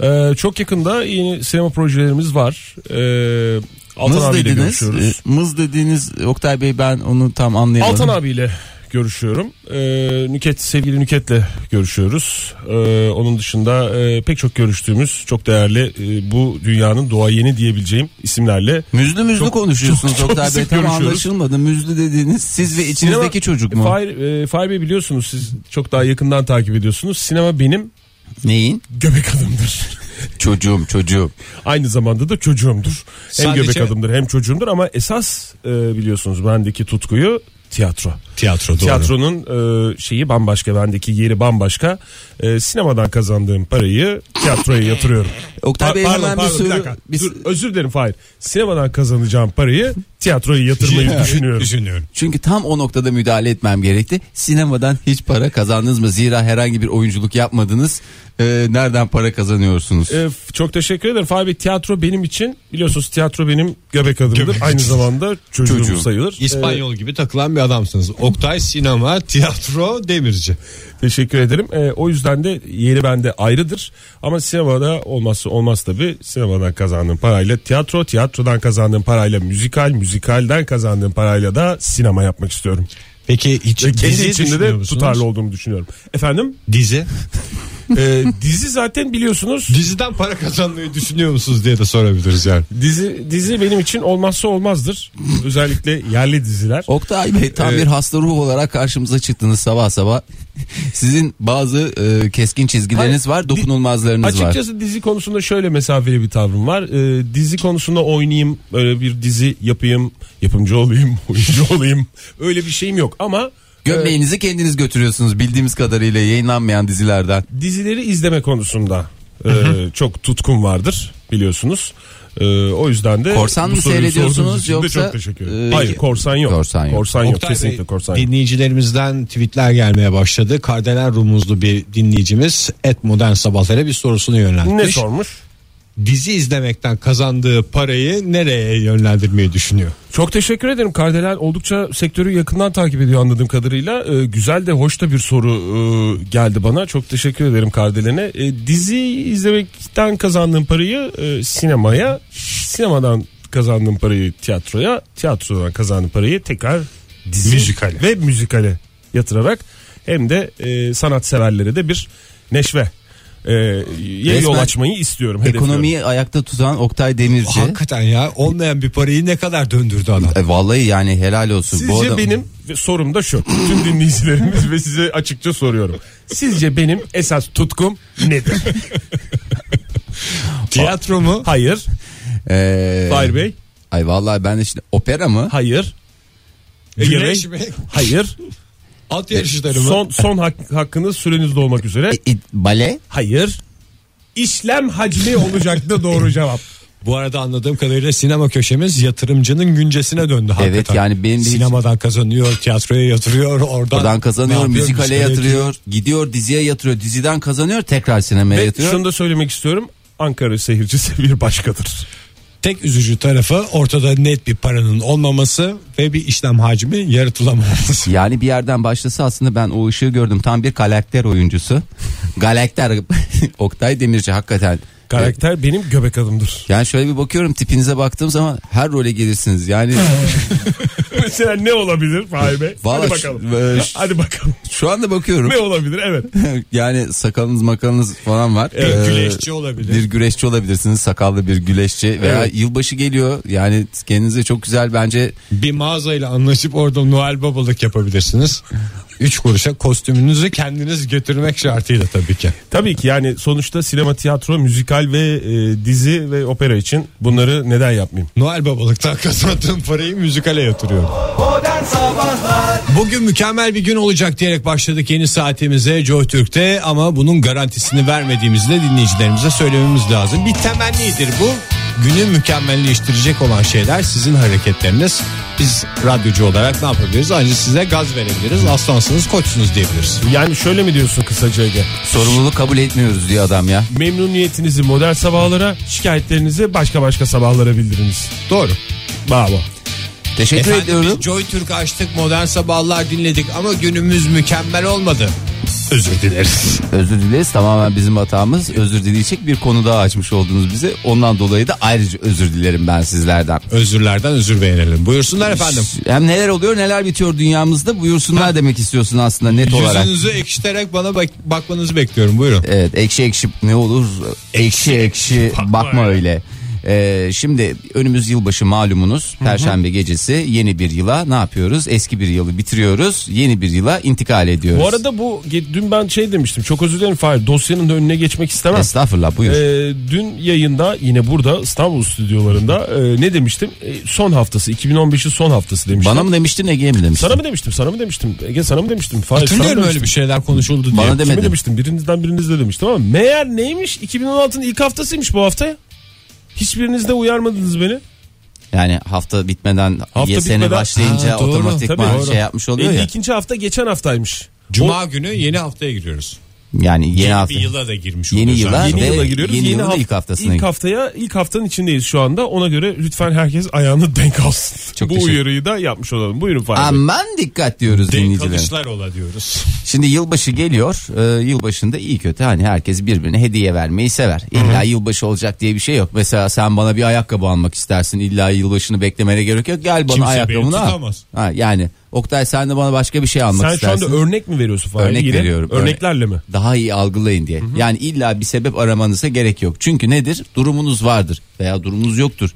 D: Ee, çok yakında yeni sinema projelerimiz var. Ee, Altan
B: Mız
D: abiyle
B: dediniz.
D: görüşüyoruz.
B: e, Mız dediğiniz Oktay Bey ben onu tam anlayamadım.
D: Altan abiyle görüşüyorum. Ee, Nüket sevgili Nüket'le görüşüyoruz. Ee, onun dışında e, pek çok görüştüğümüz çok değerli e, bu dünyanın doğayeni diyebileceğim isimlerle.
B: Müzlü müzlü
D: Çok-
B: konuşuyorsunuz
D: çok-
B: Oktay
D: çok
B: Bey
D: sık
B: tam
D: görüşüyoruz.
B: anlaşılmadı. Müzlü dediğiniz siz ve içinizdeki
D: Sinema-
B: çocuk mu?
D: Fahir, e, Fahir Bey biliyorsunuz siz çok daha yakından takip ediyorsunuz. Sinema benim
B: Neyin?
D: göbek adımdır.
B: Çocuğum çocuğu.
D: Aynı zamanda da çocuğumdur. Hem
C: Sadece-
D: göbek adımdır hem çocuğumdur ama esas e, biliyorsunuz bendeki tutkuyu tiyatro.
C: Tiyatro doğru.
D: Tiyatronun e, şeyi bambaşka bendeki yeri bambaşka. E, sinemadan kazandığım parayı tiyatroya yatırıyorum.
B: Oktay
D: Pa-
B: Bey
D: pardon,
B: hemen bir
D: pardon,
B: soru-
D: dakika.
B: bir-
D: Dur, özür dilerim Fahir. Sinemadan kazanacağım parayı tiyatroya yatırmayı düşünüyorum.
C: Düşünüyorum.
B: Çünkü tam o noktada müdahale etmem gerekti. Sinemadan hiç para kazandınız mı? Zira herhangi bir oyunculuk yapmadınız. Ee, nereden para kazanıyorsunuz?
D: E, f- çok teşekkür ederim Fahir Bey. Tiyatro benim için biliyorsunuz tiyatro benim göbek adımdır. Aynı zamanda çocuğum,
B: Çocuğum.
D: sayılır. E,
C: İspanyol gibi takılan bir adamsınız. Oktay sinema, tiyatro, demirci.
D: Teşekkür ederim. Ee, o yüzden de yeri bende ayrıdır. Ama sinemada olmazsa olmaz tabii. Sinemadan kazandığım parayla tiyatro, tiyatrodan kazandığım parayla müzikal, müzikalden kazandığım parayla da sinema yapmak istiyorum.
C: Peki hiç
D: Ve kendi
C: dizi
D: içinde
C: düşünüyor
D: de
C: musunuz?
D: tutarlı olduğumu düşünüyorum. Efendim
C: Dizi.
D: e, dizi zaten biliyorsunuz.
C: Diziden para kazanmayı düşünüyor musunuz diye de sorabiliriz yani.
D: Dizi dizi benim için olmazsa olmazdır. Özellikle yerli diziler.
B: Oktay Bey tam
D: e,
B: bir hasta ruh olarak karşımıza çıktınız sabah sabah. Sizin bazı e, keskin çizgileriniz var, dokunulmazlarınız var.
D: Açıkçası dizi konusunda şöyle mesafeli bir tavrım var. Ee, dizi konusunda oynayayım, böyle bir dizi yapayım, yapımcı olayım, oyuncu olayım. Öyle bir şeyim yok ama e,
B: Gömleğinizi kendiniz götürüyorsunuz bildiğimiz kadarıyla yayınlanmayan dizilerden.
D: dizileri izleme konusunda e, çok tutkum vardır biliyorsunuz. E, o yüzden de
B: Korsan
D: bu
B: mı
D: soruyu
B: seyrediyorsunuz
D: sorduğunuz için de
B: yoksa,
D: çok teşekkür ederim.
B: e,
D: Hayır korsan yok.
B: Korsan yok.
C: Oktay Bey,
D: kesinlikle korsan yok.
C: Dinleyicilerimizden tweetler gelmeye başladı. Kardelen Rumuzlu bir dinleyicimiz et modern sabahlara bir sorusunu
D: Ne
C: yöneltmiş.
D: sormuş?
C: Dizi izlemekten kazandığı parayı nereye yönlendirmeyi düşünüyor?
D: Çok teşekkür ederim. Kardelen oldukça sektörü yakından takip ediyor anladığım kadarıyla. Ee, güzel de hoş da bir soru e, geldi bana. Çok teşekkür ederim Kardelen'e. Ee, dizi izlemekten kazandığım parayı e, sinemaya, sinemadan kazandığım parayı tiyatroya, tiyatrodan kazandığım parayı tekrar dizi
C: Müzikale.
D: ve müzikale yatırarak hem de e, sanatseverlere de bir neşve e, yol
B: Resmen
D: açmayı istiyorum. hedefliyorum.
B: Ekonomiyi ayakta tutan Oktay Demirci.
C: Hakikaten ya olmayan bir parayı ne kadar döndürdü adam.
B: E, vallahi yani helal olsun.
D: Sizce
B: Bu adam-
D: benim sorum da şu. Tüm dinleyicilerimiz ve size açıkça soruyorum. Sizce benim esas tutkum nedir?
C: Tiyatro mu?
D: Hayır.
B: Ee,
D: Fahir Bey.
B: Ay vallahi ben de şimdi opera mı?
D: Hayır. Ege Bey.
C: Güneş mi?
D: Hayır.
C: At yarışları mı?
D: Son son hak- hakkınız sürenizde olmak üzere.
B: E, e, bale?
D: Hayır. İşlem hacmi olacaktı doğru cevap.
C: Bu arada anladığım kadarıyla sinema köşemiz yatırımcının güncesine döndü
B: Evet,
C: hakikaten.
B: yani benim de hiç-
C: Sinemadan kazanıyor, tiyatroya yatırıyor, oradan,
B: Oradan
C: ne
B: kazanıyor,
C: yapıyor,
B: müzikale
C: müzikale
B: yatırıyor, gidiyor diziye yatırıyor, diziden kazanıyor, tekrar sinemaya
D: Ve
B: yatırıyor.
D: şunu da söylemek istiyorum. Ankara seyircisi bir başkadır.
C: Tek üzücü tarafı ortada net bir paranın olmaması ve bir işlem hacmi yaratılamaması.
B: Yani bir yerden başlasa aslında ben o ışığı gördüm. Tam bir karakter oyuncusu. Galakter Oktay Demirci hakikaten.
D: Karakter benim göbek adımdır.
B: Yani şöyle bir bakıyorum tipinize baktığım zaman her role gelirsiniz. Yani
D: Mesela ne olabilir Fahir Bey?
B: Vallahi
D: Hadi
B: şu-
D: bakalım.
B: ve-
D: Hadi bakalım.
B: şu anda bakıyorum.
D: Ne olabilir? Evet.
B: yani sakalınız makalınız falan var.
C: Bir
B: Ee,
C: güleşçi olabilir.
B: Bir güreşçi olabilirsiniz sakallı bir güleşçi veya
D: Evet.
B: yılbaşı geliyor yani kendinize çok güzel bence
C: Bir mağazayla anlaşıp orada Noel babalık yapabilirsiniz. Üç kuruşa kostümünüzü kendiniz getirmek şartıyla tabii ki.
D: Tabii ki yani sonuçta sinema, tiyatro, müzikal ve e, dizi ve opera için bunları neden yapmayayım?
C: Noel babalıktan kazandığım parayı müzikale yatırıyorum. Bugün mükemmel bir gün olacak diyerek başladık yeni saatimize Joy Türk'te ama bunun garantisini vermediğimizi de dinleyicilerimize söylememiz lazım. Bir temennidir bu. Günü mükemmelleştirecek olan şeyler sizin hareketleriniz. Biz radyocu olarak ne yapabiliriz? Ancak size gaz verebiliriz. Aslansınız, koçsunuz diyebiliriz.
D: Yani şöyle mi diyorsun kısaca Ege?
B: sorumluluğu kabul etmiyoruz diyor adam ya.
D: Memnuniyetinizi modern sabahlara, şikayetlerinizi başka başka sabahlara bildiriniz.
C: Doğru.
D: Bravo.
B: Teşekkür
C: Efendim
B: ediyorum.
C: biz Joy Türk açtık, modern sabahlar dinledik ama günümüz mükemmel olmadı. Özür dileriz.
B: Özür dileriz tamamen bizim hatamız. Özür dileyecek bir konu daha açmış oldunuz bize. Ondan dolayı da ayrıca özür dilerim ben sizlerden.
C: Özürlerden özür beğenelim. Buyursunlar efendim.
B: Hem neler oluyor neler bitiyor dünyamızda buyursunlar demek istiyorsun aslında net olarak.
C: Yüzünüzü ekşiterek bana bak- bakmanızı bekliyorum. Buyurun.
B: Evet ekşi ekşi ne olur ekşi ekşi bakma öyle. Ee, şimdi önümüz yılbaşı malumunuz Perşembe gecesi yeni bir yıla ne yapıyoruz? Eski bir yılı bitiriyoruz yeni bir yıla intikal ediyoruz.
D: Bu arada bu ge- dün ben şey demiştim çok özür dilerim Fahir dosyanın da önüne geçmek istemem.
B: Estağfurullah buyur.
D: Ee, dün yayında yine burada İstanbul stüdyolarında e, ne demiştim? E, son haftası 2015'in son haftası demiştim.
B: Bana mı demiştin Ege'ye mi demiştin?
D: Sana mı demiştim? Sana mı demiştim? Ege sana mı demiştim? Fahir, sana mı
C: Hatırlıyorum öyle
D: demiştim?
C: bir şeyler konuşuldu diye.
B: Bana
D: Kime
B: demedin.
D: demiştim? Birinizden birinizle demiştim ama meğer neymiş? 2016'nın ilk haftasıymış bu hafta. Hiçbiriniz de uyarmadınız beni.
B: Yani hafta bitmeden
D: Hafta
B: yesene
D: bitmeden-
B: başlayınca
C: Ha, doğru,
B: otomatikman
D: tabii, doğru.
B: şey yapmış oluyor ya.
D: 52. hafta geçen haftaymış.
C: Cuma günü yeni haftaya giriyoruz.
B: Yani yeni, hafta.
C: Bir yıla da girmiş
B: Yeni
C: oluyoruz.
B: yıla-
C: Yani
D: Yeni
B: Ve
D: yıla giriyoruz.
B: yeni yılın
D: haft-
B: ilk haftasına
D: ilk
B: gir-
D: haftaya ilk haftanın içindeyiz şu anda. Ona göre lütfen herkes ayağını denk alsın.
B: Çok
D: Bu
B: teşekkür-
D: uyarıyı da yapmış olalım. Buyurun Fahri. Bey.
B: Aman dikkat diyoruz
C: Denk
B: dinleyicilere.
C: alışlar ola diyoruz.
B: Şimdi yılbaşı geliyor. Ee, yılbaşında iyi kötü hani herkes birbirine hediye vermeyi sever. İlla yılbaşı olacak diye bir şey yok. Mesela sen bana bir ayakkabı almak istersin. İlla yılbaşını beklemene gerek yok. Gel bana
C: Kimse
B: ayakkabını
C: beni
B: al.
C: tutamaz.
B: Ha, yani Oktay sen de bana başka bir şey almak
D: Sen şu
B: istersin.
D: anda örnek mi veriyorsun Fahri?
B: Örnek
D: Yine
B: veriyorum.
D: Örneklerle mi?
B: daha iyi algılayın diye. Yani illa bir sebep aramanıza gerek yok. Çünkü nedir? Durumunuz vardır veya durumunuz yoktur.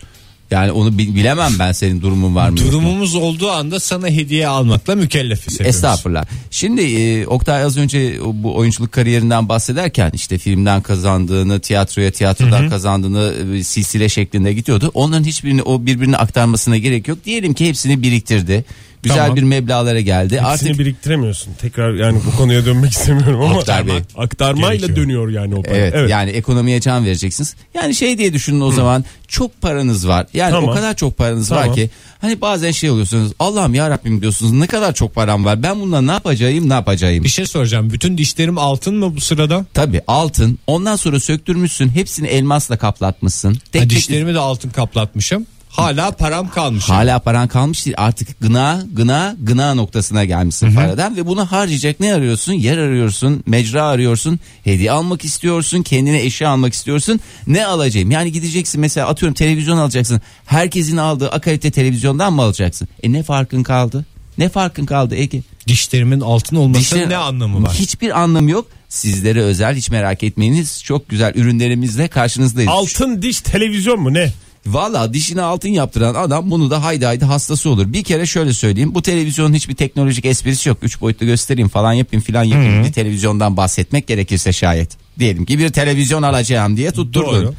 B: Yani onu bi- bilemem ben senin durumun var mı? yok mu?
C: Durumumuz olduğu anda sana hediye almakla mükellefiz. hepimiz.
B: Estağfurullah. Şimdi e, Oktay az önce o- bu oyunculuk kariyerinden bahsederken işte filmden kazandığını, tiyatroya, tiyatrodan kazandığını e, silsile şeklinde gidiyordu. Onların hiçbirini o birbirine aktarmasına gerek yok. Diyelim ki hepsini biriktirdi. Güzel
C: Tamam.
B: bir meblağlara geldi.
D: Artık
B: Artık
D: biriktiremiyorsun. Tekrar yani bu konuya dönmek istemiyorum ama
B: Aktar Bey.
D: aktarmayla
C: Gerekiyor.
D: dönüyor yani o para.
B: Evet, yani ekonomiye can vereceksiniz. Yani şey diye düşünün o zaman çok paranız var. Yani
D: Tamam.
B: o kadar çok paranız var
D: Tamam.
B: ki hani bazen şey oluyorsunuz. Allah'ım ya Rabbim diyorsunuz. Ne kadar çok param var. Ben bununla ne yapacağım? Ne yapacağım?
C: Bir şey soracağım. Bütün dişlerim altın mı bu sırada?
B: Tabii altın. Ondan sonra söktürmüşsün. Hepsini elmasla kaplatmışsın. Tek
C: Ha,
B: tek-
C: dişlerimi de altın kaplatmışım. Hala param kalmış.
B: Hala paran kalmış değil. Artık gına gına gına noktasına gelmişsin paradan ve bunu harcayacak ne arıyorsun? Yer arıyorsun, mecra arıyorsun, hediye almak istiyorsun, kendine eşya almak istiyorsun. Ne alacağım? Yani gideceksin mesela atıyorum televizyon alacaksın. Herkesin aldığı akalite televizyondan mı alacaksın? E ne farkın kaldı? Ne farkın kaldı Ege?
C: Dişlerimin altın olmasının
B: Dişler-
C: ne anlamı var?
B: Hiçbir anlamı yok. Sizlere özel hiç merak etmeyiniz. Çok güzel ürünlerimizle karşınızdayız.
D: Altın diş televizyon mu ne?
B: Valla dişine altın yaptıran adam bunu da haydi haydi hastası olur. Bir kere şöyle söyleyeyim. Bu televizyonun hiçbir teknolojik esprisi yok. Üç boyutlu göstereyim falan yapayım filan yapayım. Bir televizyondan bahsetmek gerekirse şayet. Diyelim ki bir televizyon alacağım diye tutturdun.
C: Doğru.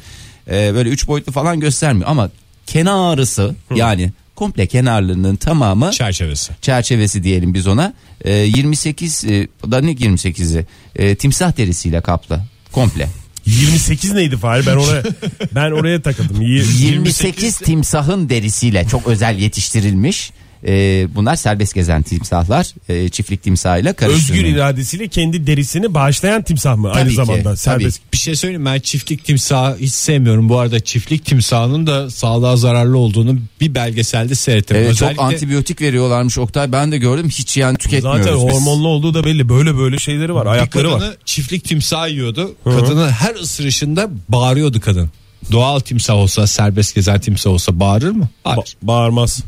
B: Ee, böyle üç boyutlu falan göstermiyor. Ama kenarısı yani komple kenarlarının tamamı
C: Çerçevesi.
B: çerçevesi diyelim biz ona. Ee, 28 e, da ne 28'i? Ee, timsah derisiyle kaplı. Komple.
D: 28 neydi Fahri ben oraya ben oraya takıldım. Yi-
B: 28 timsahın derisiyle çok özel yetiştirilmiş. Ee, bunlar serbest gezen timsahlar. Ee, çiftlik timsahıyla
D: özgür
B: karıştırılıyor.
D: iradesiyle kendi derisini bağışlayan timsah mı aynı
B: ki,
D: zamanda
B: tabii.
D: serbest?
C: Bir şey söyleyeyim ben çiftlik timsahı hiç sevmiyorum. Bu arada çiftlik timsahının da sağlığa zararlı olduğunu bir belgeselde seyrettim.
B: Evet, çok
C: Özellikle
B: antibiyotik veriyorlarmış Oktay. Ben de gördüm hiç yani tüketmiyoruz.
D: Zaten
B: biz.
D: hormonlu olduğu da belli. Böyle böyle şeyleri var.
C: bir
D: Ayakları var.
C: kadını çiftlik timsahı yiyordu. Kadının her ısırışında bağırıyordu kadın. Doğal timsah olsa serbest gezen timsah olsa bağırır mı?
D: Ba-
C: Hayır.
D: bağırmaz.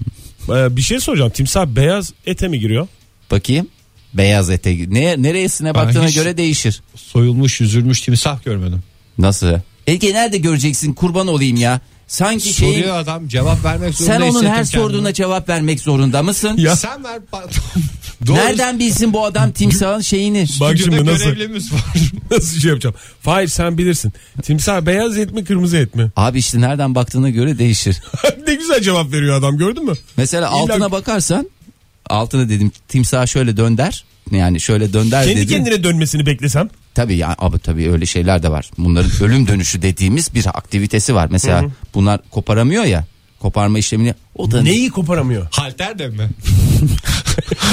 D: Ee, bir şey soracağım. Timsah beyaz ete mi giriyor?
B: Bakayım. Beyaz ete. Ne, neresine baktığına
C: hiç-
B: göre değişir.
C: Soyulmuş yüzülmüş timsah görmedim.
B: Nasıl? Ege nerede göreceksin kurban olayım ya. Sanki şey
C: Soruyor adam cevap vermek zorunda
B: sen onun
C: hissettim
B: her
C: kendimi.
B: sorduğuna cevap vermek zorunda mısın?
D: Ya.
C: Sen ver. Doğru.
B: Nereden bilsin bu adam timsahın şeyini?
D: Bak
C: Stüdyoda
D: şimdi nasıl-
C: görevlimiz var.
D: Nasıl şey yapacağım? Fahir sen bilirsin. Timsah beyaz et mi kırmızı et mi?
B: Abi işte nereden baktığına göre değişir.
D: ne güzel cevap veriyor adam gördün mü?
B: Mesela
D: İlla-
B: altına bakarsan altına dedim timsah şöyle dönder. Yani şöyle dönder
D: Kendi
B: dedim.
D: kendine dönmesini beklesem.
B: Tabii ya abi tabii öyle şeyler de var. Bunların ölüm dönüşü dediğimiz bir aktivitesi var. Mesela bunlar koparamıyor ya. Koparma işlemini o da
D: Neyi koparamıyor?
C: Halter de mi?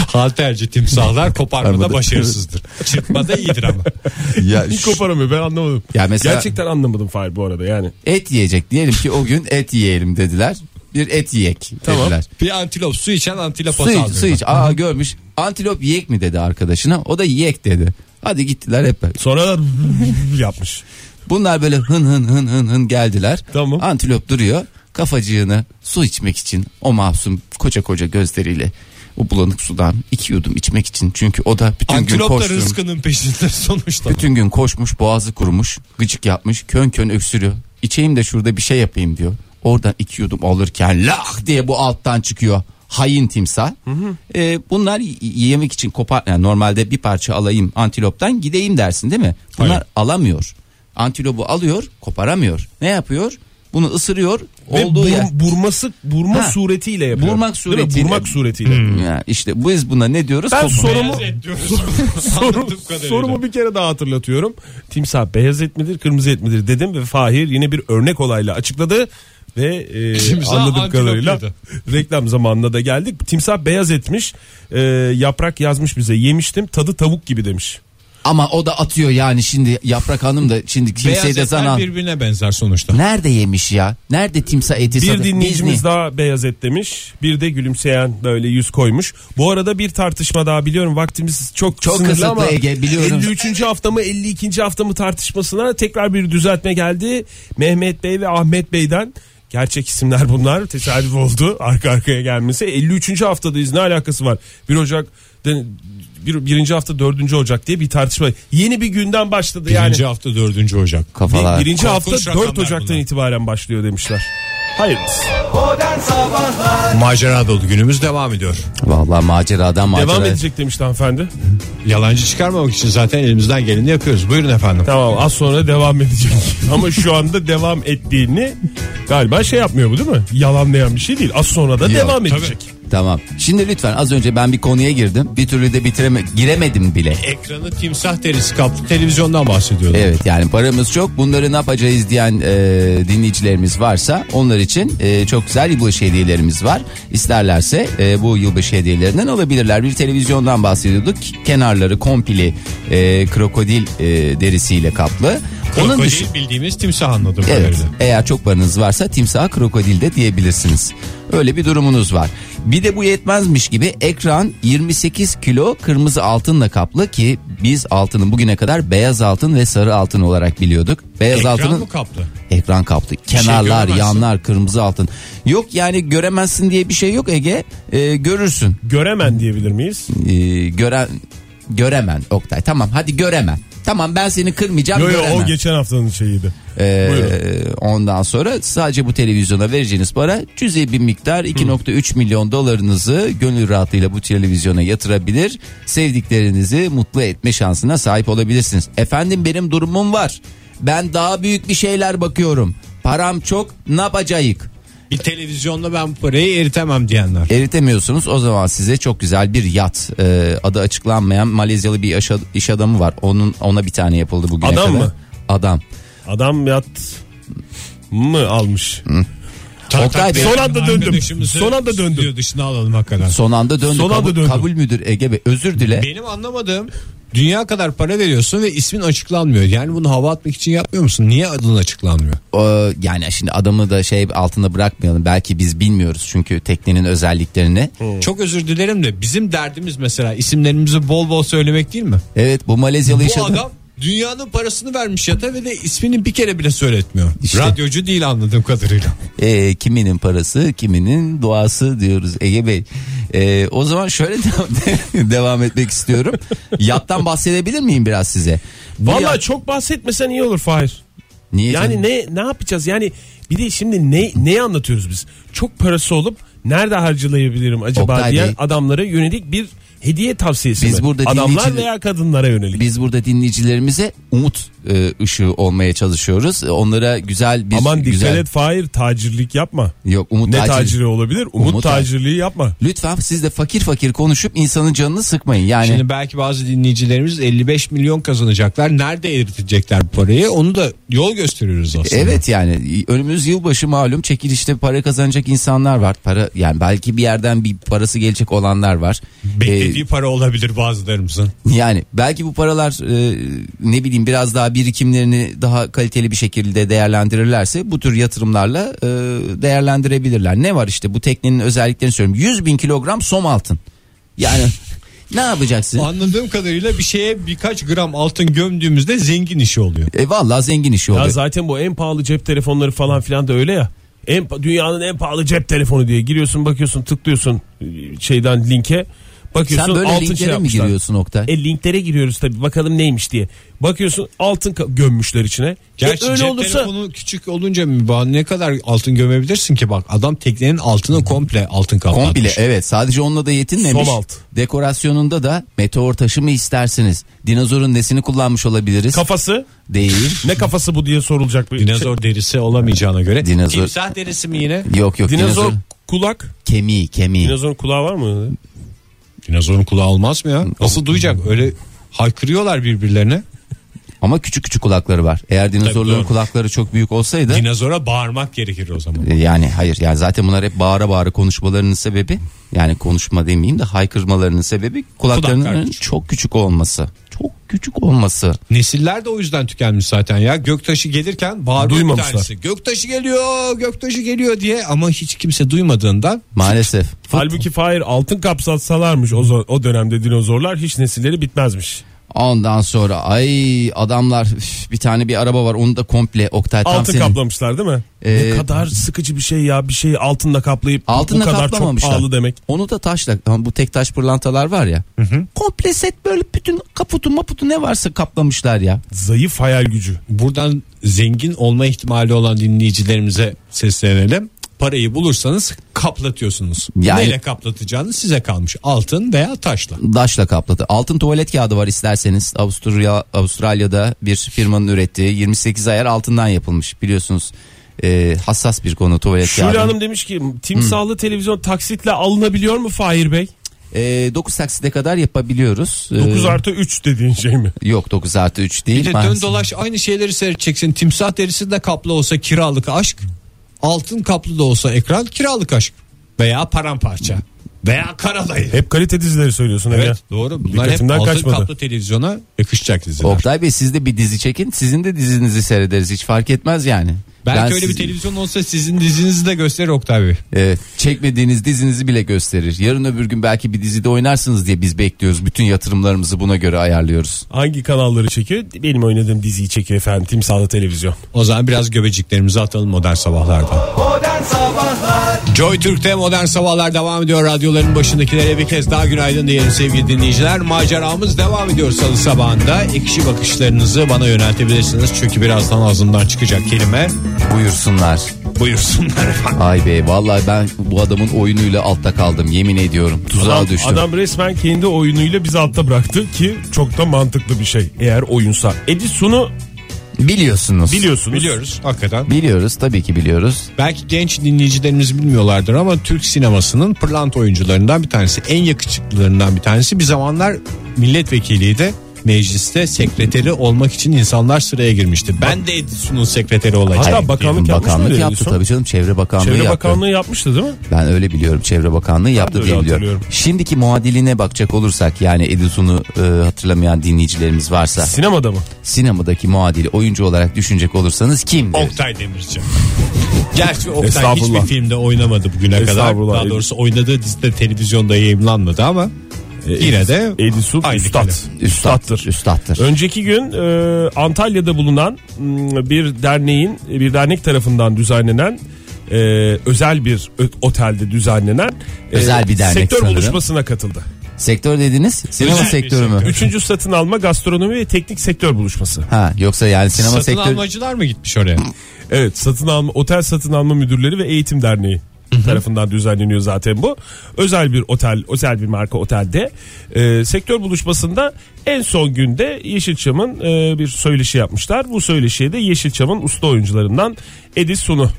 C: Halterci timsahlar koparmada
B: Koparmada.
C: başarısızdır. Çırpmada iyidir ama.
B: ya,
D: Neyi
B: şu-
D: koparamıyor ben anlamadım.
B: Ya mesela-
D: Gerçekten anlamadım Fahir bu arada yani.
B: et yiyecek diyelim ki o gün et yiyelim dediler. Bir et yiyek
D: Tamam.
B: dediler.
C: Bir antilop su içen antilopa
B: Su, iç-
C: saldırıyor.
B: su iç. Aa görmüş. Antilop yiyek mi dedi arkadaşına. O da yiyek dedi. Hadi gittiler hep. böyle.
D: Sonra da yapmış.
B: Bunlar böyle hın hın hın hın hın geldiler.
D: Tamam.
B: Antilop duruyor. Kafacığını su içmek için o masum koca koca gözleriyle o bulanık sudan iki yudum içmek için. Çünkü o da bütün gün
C: Antilop da
B: koştu.
C: rızkının peşinde sonuçta.
B: Bütün gün koşmuş boğazı kurumuş gıcık yapmış kön kön öksürüyor. İçeyim de şurada bir şey yapayım diyor. Oradan iki yudum alırken lah diye bu alttan çıkıyor. Hain timsah. Ee, bunlar y- yemek için kopar. yani normalde bir parça alayım antiloptan gideyim dersin değil mi? Bunlar
C: Hayır.
B: alamıyor. Antilopu alıyor koparamıyor. Ne yapıyor? Bunu ısırıyor.
D: Ve
B: olduğu
D: bur-
B: yer.
D: burması burma
B: Ha.
D: suretiyle yapıyor.
B: Vurmak
D: Değil mi?
B: suretiyle. Hmm.
D: Vurmak suretiyle.
B: Ya işte biz buna ne diyoruz?
D: Ben
B: Kopar-
D: sorumu soru,
C: Anladığım kadarıyla.
D: sorumu bir kere daha hatırlatıyorum. Timsah beyaz et midir, kırmızı et midir dedim ve Fahir yine bir örnek olayla açıkladı ve e,
C: Timsah
D: anladığım
C: antilop
D: kadarıyla
C: yedi.
D: reklam zamanına da geldik. Timsah beyaz etmiş. e, yaprak yazmış bize. Yemiştim. Tadı tavuk gibi demiş.
B: Ama o da atıyor yani şimdi Yaprak Hanım da şimdi
C: Beyaz
B: kimseye de
C: etler
B: sana
C: birbirine benzer sonuçta.
B: Nerede yemiş ya? Nerede timsah eti?
D: Bir
B: satıyor?
D: dinleyicimiz
B: Disney.
D: daha beyaz et demiş. Bir de gülümseyen böyle yüz koymuş. Bu arada bir tartışma daha biliyorum. Vaktimiz çok,
B: Çok
D: sınırlı
B: kısıtlı
D: ama
B: Ege, biliyorum.
D: 53. hafta mı 52. hafta mı tartışmasına tekrar bir düzeltme geldi. Mehmet Bey ve Ahmet Bey'den Gerçek isimler bunlar. Tesadüf oldu arka arkaya gelmesi. 53. haftadayız. Ne alakası var? 1 Ocak den- bir, birinci hafta 4. Ocak diye bir tartışma. Yeni bir günden başladı yani.
C: Birinci hafta dördüncü Ocak.
B: Kafalar.
D: Bir- birinci hafta
C: Korkunç
D: 4
C: rakamlar
D: Ocak'tan
C: bunlar.
D: itibaren başlıyor demişler. Hayırlısı.
C: Macera dolu günümüz devam ediyor.
B: Vallahi maceradan macera.
D: Devam edecek demişti hanımefendi.
C: Yalancı çıkarmamak için zaten elimizden geleni yapıyoruz. Buyurun efendim.
D: Tamam az sonra devam edecek. Ama şu anda devam ettiğini galiba şey yapmıyor bu değil mi? Yalanlayan bir şey değil. Az sonra da devam edecek.
B: Tamam. Şimdi lütfen az önce ben bir konuya girdim. Bir türlü de bitireme giremedim bile.
C: Ekranı timsah derisi kaplı televizyondan bahsediyordu.
B: Evet yani paramız çok. Bunları ne yapacağız diyen e, dinleyicilerimiz varsa onlar için e, çok güzel yılbaşı hediyelerimiz var. İsterlerse e, bu yılbaşı hediyelerinden alabilirler. Bir televizyondan bahsediyorduk. Kenarları kompili e, krokodil e, derisiyle kaplı.
C: Krokodil
B: dışı-
C: bildiğimiz timsah anladım.
B: Evet. Eğer çok paranız varsa timsaha krokodil de diyebilirsiniz. Öyle bir durumunuz var. Bir de bu yetmezmiş gibi ekran 28 kilo kırmızı altınla kaplı ki biz altını bugüne kadar beyaz altın ve sarı altın olarak biliyorduk. Beyaz
C: Ekran
B: altının
C: mı kaplı?
B: ekran kaplı. Kenarlar,
C: göremezsin.
B: yanlar kırmızı altın. Yok yani göremezsin diye bir şey yok Ege. Ee, görürsün.
D: Göremen diyebilir miyiz?
B: Ee, gören göremen Oktay. Tamam hadi göremen. Tamam ben seni kırmayacağım.
D: Yo yo
B: göremen.
D: o geçen haftanın şeyiydi.
B: Ee,
D: Buyurun.
B: ondan sonra sadece bu televizyona vereceğiniz para cüzi bir miktar 2.3 milyon dolarınızı gönül rahatlığıyla bu televizyona yatırabilir. Sevdiklerinizi mutlu etme şansına sahip olabilirsiniz. Efendim benim durumum var. Ben daha büyük bir şeyler bakıyorum. Param çok napacayık.
C: Bir televizyonla ben bu parayı eritemem diyenler.
B: Eritemiyorsunuz o zaman size çok güzel bir yat e, adı açıklanmayan Malezyalı bir iş, ad- iş adamı var. Onun ona bir tane yapıldı bugüne
D: Adam
B: kadar.
D: mı?
B: Adam.
D: Adam yat mı almış?
B: Oktay Bey
D: Son anda döndüm.
C: Arkadaşımızı
D: Son anda döndüm.
C: stüdyo dışına alalım hakikaten.
B: son anda döndü.
D: Son anda
B: kabul,
D: döndüm.
B: kabul müdür Ege Bey özür dile.
C: Benim anlamadığım dünya kadar para veriyorsun ve ismin açıklanmıyor. Yani bunu hava atmak için yapmıyor musun? Niye adın açıklanmıyor?
B: Ee, yani şimdi adamı da şey altında bırakmayalım. Belki biz bilmiyoruz çünkü teknenin özelliklerini.
C: Çok özür dilerim de bizim derdimiz mesela isimlerimizi bol bol söylemek değil mi?
B: Evet bu Malezyalı
C: Bu
B: yaşadı.
C: adam dünyanın parasını vermiş yata ve de ismini bir kere bile söyletmiyor.
B: İşte.
C: Radyocu değil anladığım kadarıyla.
B: Ee, kiminin parası kiminin duası diyoruz Ege Bey. Ee, o zaman şöyle de- devam etmek istiyorum. Yattan bahsedebilir miyim biraz size? Bu
D: Valla
B: yat-
D: çok bahsetmesen iyi olur Fahir.
B: Niye
D: Yani
B: canım?
D: ne ne yapacağız? Yani bir de şimdi ne neyi anlatıyoruz biz? Çok parası olup nerede harcalayabilirim acaba
B: Oktay
D: diye
B: Bey.
D: adamlara yönelik bir hediye tavsiyesi
B: Biz
D: mi?
B: burada
D: Adamlar
B: dinleyici-
D: veya kadınlara yönelik.
B: Biz burada dinleyicilerimize umut e, ışığı olmaya çalışıyoruz. Onlara güzel bir
D: Aman dikkat
B: güzel
D: et Fahir tacirlik yapma.
B: yok umut
D: Ne
B: tacir-
D: taciri olabilir? Umut,
B: Umut tac-
D: tacirliği yapma.
B: Lütfen siz de fakir fakir konuşup insanın canını sıkmayın. Yani
C: Şimdi belki bazı dinleyicilerimiz 55 milyon kazanacaklar. Nerede eritecekler bu parayı? Onu da yol gösteriyoruz aslında.
B: Evet yani önümüz yılbaşı malum çekilişte para kazanacak insanlar var. Para yani belki bir yerden bir parası gelecek olanlar var.
C: Beklediği para olabilir bazılarımızın.
B: Ee, yani belki bu paralar e, ne bileyim biraz daha birikimlerini daha kaliteli bir şekilde değerlendirirlerse bu tür yatırımlarla e, değerlendirebilirler. Ne var işte bu teknenin özelliklerini söylüyorum. 100 bin kilogram som altın. Yani ne yapacaksın?
C: Anladığım kadarıyla bir şeye birkaç gram altın gömdüğümüzde zengin işi oluyor.
B: E vallahi zengin işi
D: Ya
B: oluyor.
D: zaten bu en pahalı cep telefonları falan filan da öyle ya. En, pa- dünyanın en pahalı cep telefonu diye giriyorsun bakıyorsun tıklıyorsun e, şeyden linke. Bakıyorsun
B: Sen böyle
D: altın şey
B: linklere mi
D: yapmışlar.
B: giriyorsun Oktay?
D: E linklere giriyoruz tabi bakalım neymiş diye. Bakıyorsun altın ka- gömmüşler içine.
C: Gerçi
D: e, öyle
C: cep
D: olursa
C: telefonu küçük olunca mübah ne kadar altın gömebilirsin ki bak adam teknenin altını komple altın kaplatmış.
B: Komple evet sadece onunla da yetinmemiş.
D: Son alt.
B: Dekorasyonunda da meteor taşı mı istersiniz? Dinozorun nesini kullanmış olabiliriz?
D: kafası
B: Değil.
D: ne kafası bu diye sorulacak. Bir şey.
C: Dinozor derisi olamayacağına göre.
B: Dinozor-
C: Timsah derisi mi yine?
B: Yok yok dinozor,
D: Dinozor kulak.
B: kemiği kemiği.
D: Dinozorun kulağı var mı?
C: Dinozorun kulağı olmaz mı ya? Nasıl duyacak? Öyle haykırıyorlar birbirlerine.
B: Ama küçük küçük kulakları var. Eğer dinozorların
C: doğru.
B: kulakları çok büyük olsaydı
C: Dinozora bağırmak gerekir o zaman.
B: E, yani hayır yani zaten bunlar hep bağıra bağıra konuşmalarının sebebi yani konuşma demeyeyim de haykırmalarının sebebi kulaklarının
C: Kulaklar küçük.
B: çok küçük olması. Çok küçük olması.
C: Nesiller de o yüzden tükenmiş zaten ya. Göktaşı gelirken bağırıyor
D: Duymamışlar.
C: bir tanesi. Göktaşı geliyor, göktaşı geliyor diye ama hiç kimse duymadığından
B: Maalesef. Fut-
D: Halbuki Fahir altın kapsatsalarmış o, zo- o dönemde dinozorlar hiç nesilleri bitmezmiş.
B: Ondan sonra ay adamlar üf, bir tane bir araba var onu da komple Oktay tam
D: Altın
B: senin-
D: kaplamışlar değil mi?
B: Ee,
D: ne kadar sıkıcı bir şey ya bir şeyi altınla kaplayıp
B: Altınla
D: bu kadar çok
B: kaplamamışlar.
D: pahalı demek.
B: Onu da taşla ama bu tek taş pırlantalar var ya. Komple set böyle bütün kaputu maputu ne varsa kaplamışlar ya.
D: Zayıf hayal gücü.
C: buradan zengin olma ihtimali olan dinleyicilerimize seslenelim. Parayı bulursanız kaplatıyorsunuz.
B: Yani-
C: Neyle kaplatacağınız size kalmış. Altın veya taşla.
B: Taşla kapladı. Altın tuvalet kağıdı var isterseniz. Avusturya Avustralya'da bir firmanın ürettiği 28 ayar altından yapılmış biliyorsunuz. e, hassas bir konu tuvalet
D: Şule
B: kağıdı.
D: Hanım demiş ki timsahlı televizyon taksitle alınabiliyor mu Fahir Bey?
B: E, 9 taksite kadar yapabiliyoruz. E,
D: 9 artı 3 dediğin şey mi?
B: Yok 9 artı 3 değil.
C: Bir de dön
B: maalesef.
C: dolaş aynı şeyleri seyredeceksin. Timsah derisi de kaplı olsa kiralık aşk. Altın kaplı da olsa ekran kiralık aşk. Veya paramparça. Veya karalayı.
D: Hep kalite dizileri söylüyorsun. Ege.
C: Evet doğru. Bunlar hep
D: Dikkatimden
C: altın
D: kaçmadı.
C: kaplı televizyona yakışacak diziler.
B: Oktay Bey siz de bir dizi çekin. Sizin de dizinizi seyrederiz. Hiç fark etmez yani.
C: Belki
B: Ben
C: öyle bir
B: siz-
C: televizyon olsa sizin dizinizi de gösterir Oktay Bey.
B: Evet, e, çekmediğiniz dizinizi bile gösterir. Yarın öbür gün belki bir dizide oynarsınız diye biz bekliyoruz. Bütün yatırımlarımızı buna göre ayarlıyoruz.
D: Hangi kanalları çekiyor? Benim oynadığım diziyi çekiyor efendim timsahlı televizyon.
C: O zaman biraz göbeciklerimizi atalım modern sabahlarda. Joy Türk'te modern sabahlar devam ediyor. Radyoların başındakilere bir kez daha günaydın diyelim sevgili dinleyiciler. Maceramız devam ediyor salı sabahında. Ekşi bakışlarınızı bana yöneltebilirsiniz. Çünkü birazdan ağzımdan çıkacak kelime
B: Buyursunlar.
C: buyursunlar efendim.
B: Ay be vallahi ben bu adamın oyunuyla altta kaldım. Yemin ediyorum. Tuzağa
D: Adam,
B: düştüm.
D: adam resmen kendi oyunuyla bizi altta bıraktı ki çok da mantıklı bir şey eğer oyunsa. Edison'u
B: Biliyorsunuz.
D: biliyorsunuz.
C: Biliyoruz hakikaten.
B: Biliyoruz tabii ki biliyoruz.
C: Belki genç dinleyicilerimiz bilmiyorlardır ama Türk sinemasının pırlanta oyuncularından bir tanesi. En yakışıklılarından bir tanesi. Bir zamanlar milletvekiliydi. mecliste sekreteri olmak için insanlar sıraya girmişti. Ben de Edison'un sekreteri olacağım.
D: Hatta bakanlık yapmış
B: bakanlık
D: mıydı
B: yaptı
D: Edison?
B: tabii canım. Çevre Bakanlığı
D: Çevre
B: yaptı.
D: Bakanlığı yapmıştı değil mi?
B: Ben öyle biliyorum. Çevre Bakanlığı yaptı
D: öyle
B: diye biliyorum.
D: hatırlıyorum.
B: Şimdiki muadiline bakacak olursak yani Edison'u e, hatırlamayan dinleyicilerimiz varsa
D: Sinemada mı?
B: sinemadaki muadili oyuncu olarak düşünecek olursanız kimdir?
C: Oktay Demirci. Gerçi Oktay hiçbir
D: Estağfurullah.
C: filmde oynamadı bugüne kadar.
D: Estağfurullah.
C: Daha doğrusu oynadığı dizide televizyonda yayımlanmadı ama E,
D: E,
C: yine de
D: Edison
C: aynı
D: Üstad.
C: kale.
D: Üstad'dır.
B: Üstattır.
D: Önceki gün e, Antalya'da bulunan m, bir derneğin bir dernek tarafından düzenlenen e, özel bir ö- otelde düzenlenen e,
B: Özel bir dernek
D: sektör
B: sanırım.
D: buluşmasına katıldı.
B: Sektör dediniz sinema
C: Özel bir
B: sektörü mü?
C: sektör.
D: Üçüncü satın alma gastronomi ve teknik sektör buluşması.
B: Ha yoksa yani sinema
C: Satın
B: sektörü
C: almacılar mı gitmiş oraya?
D: Evet satın alma otel satın alma müdürleri ve eğitim derneği tarafından düzenleniyor zaten bu. Özel bir otel, özel bir marka otelde e, sektör buluşmasında en son günde Yeşilçam'ın e, bir söyleşi yapmışlar. Bu söyleşiye de Yeşilçam'ın usta oyuncularından Edison'u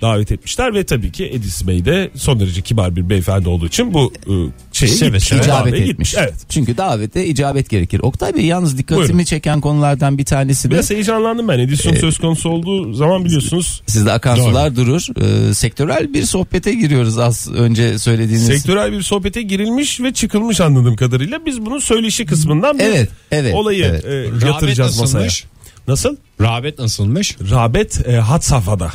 D: davet etmişler ve tabii ki Edis Bey de son derece kibar bir beyefendi olduğu için bu e, şeye
C: Seve
D: gitmiş,
C: seve.
D: davete
B: icabet etmiş.
D: gitmiş. Evet.
B: Çünkü davete icabet gerekir. Oktay Bey yalnız dikkatimi
D: Buyurun.
B: çeken konulardan bir tanesi de
D: Biraz heyecanlandım ben.
C: e,
D: Edison söz konusu olduğu zaman biliyorsunuz
B: sizde akan sular durur. Ee, sektörel bir sohbete giriyoruz az önce söylediğiniz.
D: Sektörel bir sohbete girilmiş ve çıkılmış anladığım kadarıyla. Biz bunun söyleşi kısmından bir
B: Evet, evet,
D: olayı
B: evet.
D: e,
C: Rağbet
D: yatıracağız masaya.
C: nasılmış?
D: Nasıl?
C: Rağbet nasılmış?
D: Rağbet e, had safhada.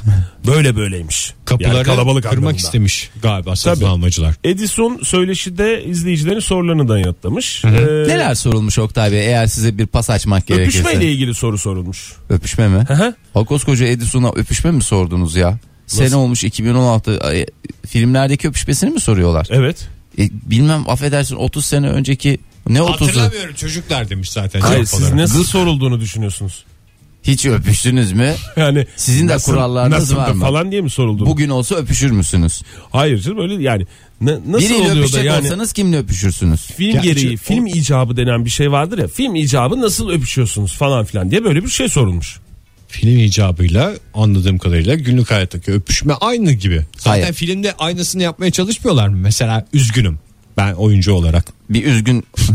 D: Böyle böyleymiş.
C: Kapıları
D: Yani kalabalık
C: kırmak
D: anlamında.
C: istemiş galiba satın
D: Tabii.
C: almacılar.
D: Edison söyleşide izleyicilerin sorularını da yanıtlamış. Ee,
B: Neler sorulmuş Oktay Bey eğer size bir pas açmak gerekirse?
D: Öpüşmeyle ilgili soru sorulmuş.
B: Öpüşme mi?
D: hı.
B: Ha koskoca Edison'a öpüşme mi sordunuz ya? Sene olmuş 2016 ay, e, filmlerdeki öpüşmesini mi soruyorlar?
D: Evet.
B: E, bilmem affedersin 30 sene önceki ne 30'u?
C: Hatırlamıyorum çocuklar demiş zaten.
D: Hayır,
C: cevap
D: siz
C: olarak.
D: nasıl sorulduğunu düşünüyorsunuz?
B: Hiç öpüştünüz mü?
D: Yani
B: Sizin de kurallarınız
D: nasıl da
B: var mı?
D: falan diye mi soruldu?
B: Bugün olsa öpüşür müsünüz?
D: Hayır canım öyle yani na- nasıl
B: Biriyle şey
D: oluyor da
B: öpüşecek
D: yani
B: olsanız kimle öpüşürsünüz?
D: film
C: Gerçi
D: gereği
C: o-
D: film icabı denen bir şey vardır ya film icabı nasıl öpüşüyorsunuz falan filan diye böyle bir şey sorulmuş.
C: Film icabıyla anladığım kadarıyla günlük hayattaki öpüşme aynı gibi. Zaten
B: Hayır.
C: filmde aynısını yapmaya çalışmıyorlar mı? Mesela üzgünüm ben oyuncu olarak.
B: Bir üzgün...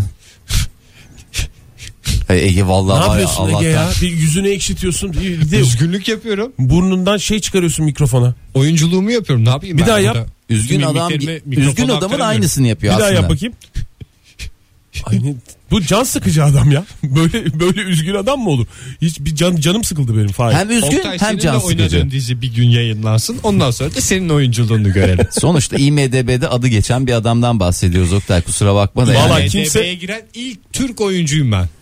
B: Ay Ege vallahi
D: ne
B: var ya
D: yapıyorsun Ege ya?
B: Allah'tan.
D: Bir yüzünü ekşitiyorsun bir bir de
C: Üzgünlük yapıyorum.
D: burnundan şey çıkarıyorsun mikrofona.
C: Oyunculuğumu yapıyorum. Ne yapayım
D: Bir
C: ben
D: daha
C: burada?
D: yap.
B: Üzgün adam
C: Mimiklerimi mikrofona
B: üzgün adamın
C: aktaramıyorum.
B: aynısını yapıyor
D: Bir daha
B: aslında.
D: yap bakayım. Ay ne- bu can sıkıcı adam ya. Böyle böyle üzgün adam mı olur? Hiç bir can canım sıkıldı benim Fahir.
B: Hem üzgün
C: Oktay,
B: hem
C: senin
B: can
C: de oynadığın
B: sıkıcı.
C: dizi bir gün yayınlansın. Ondan sonra da senin oyunculuğunu görelim.
B: Sonuçta IMDB'de adı geçen bir adamdan bahsediyoruz Oktay kusura bakma da.
D: Vallahi
B: Yani.
C: Yani
D: kimse-
C: DB'ye giren ilk Türk oyuncuyum ben.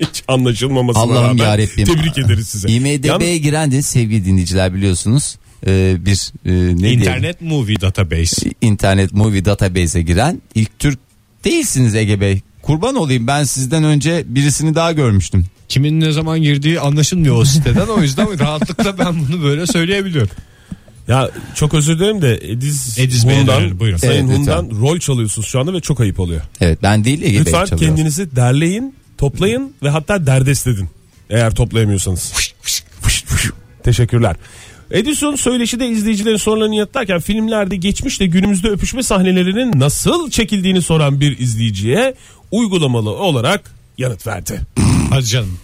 D: Hiç anlaşılmamasına
B: Allah'ım
D: rağmen
B: yarabbim.
D: Tebrik ederiz size. Yalnız-
B: IMDB'ye giren de sevgili dinleyiciler biliyorsunuz e, bir e, ne diyelim?
C: İnternet Movie Database.
B: internet movie database'e giren ilk Türk değilsiniz Ege Bey. Kurban olayım ben sizden önce birisini daha görmüştüm.
C: Kimin ne zaman girdiği anlaşılmıyor o siteden. O yüzden rahatlıkla ben bunu böyle söyleyebiliyorum.
D: Ya çok özür dilerim de Ediz,
C: Ediz Bey'e dönelim, buyurun.
D: Hundan, Sayın
B: Evet, lütfen.
D: Hundan rol çalıyorsunuz şu anda ve çok ayıp oluyor.
B: Evet ben değil Ege Bey
D: Lütfen
B: çalıyorum.
D: kendinizi derleyin, toplayın ve hatta derdest edin. Eğer toplayamıyorsanız. Teşekkürler. Edison söyleşide izleyicilerin sorularını yanıtlarken filmlerde geçmişte günümüzde öpüşme sahnelerinin nasıl çekildiğini soran bir izleyiciye uygulamalı olarak yanıt verdi.
C: Hadi canım.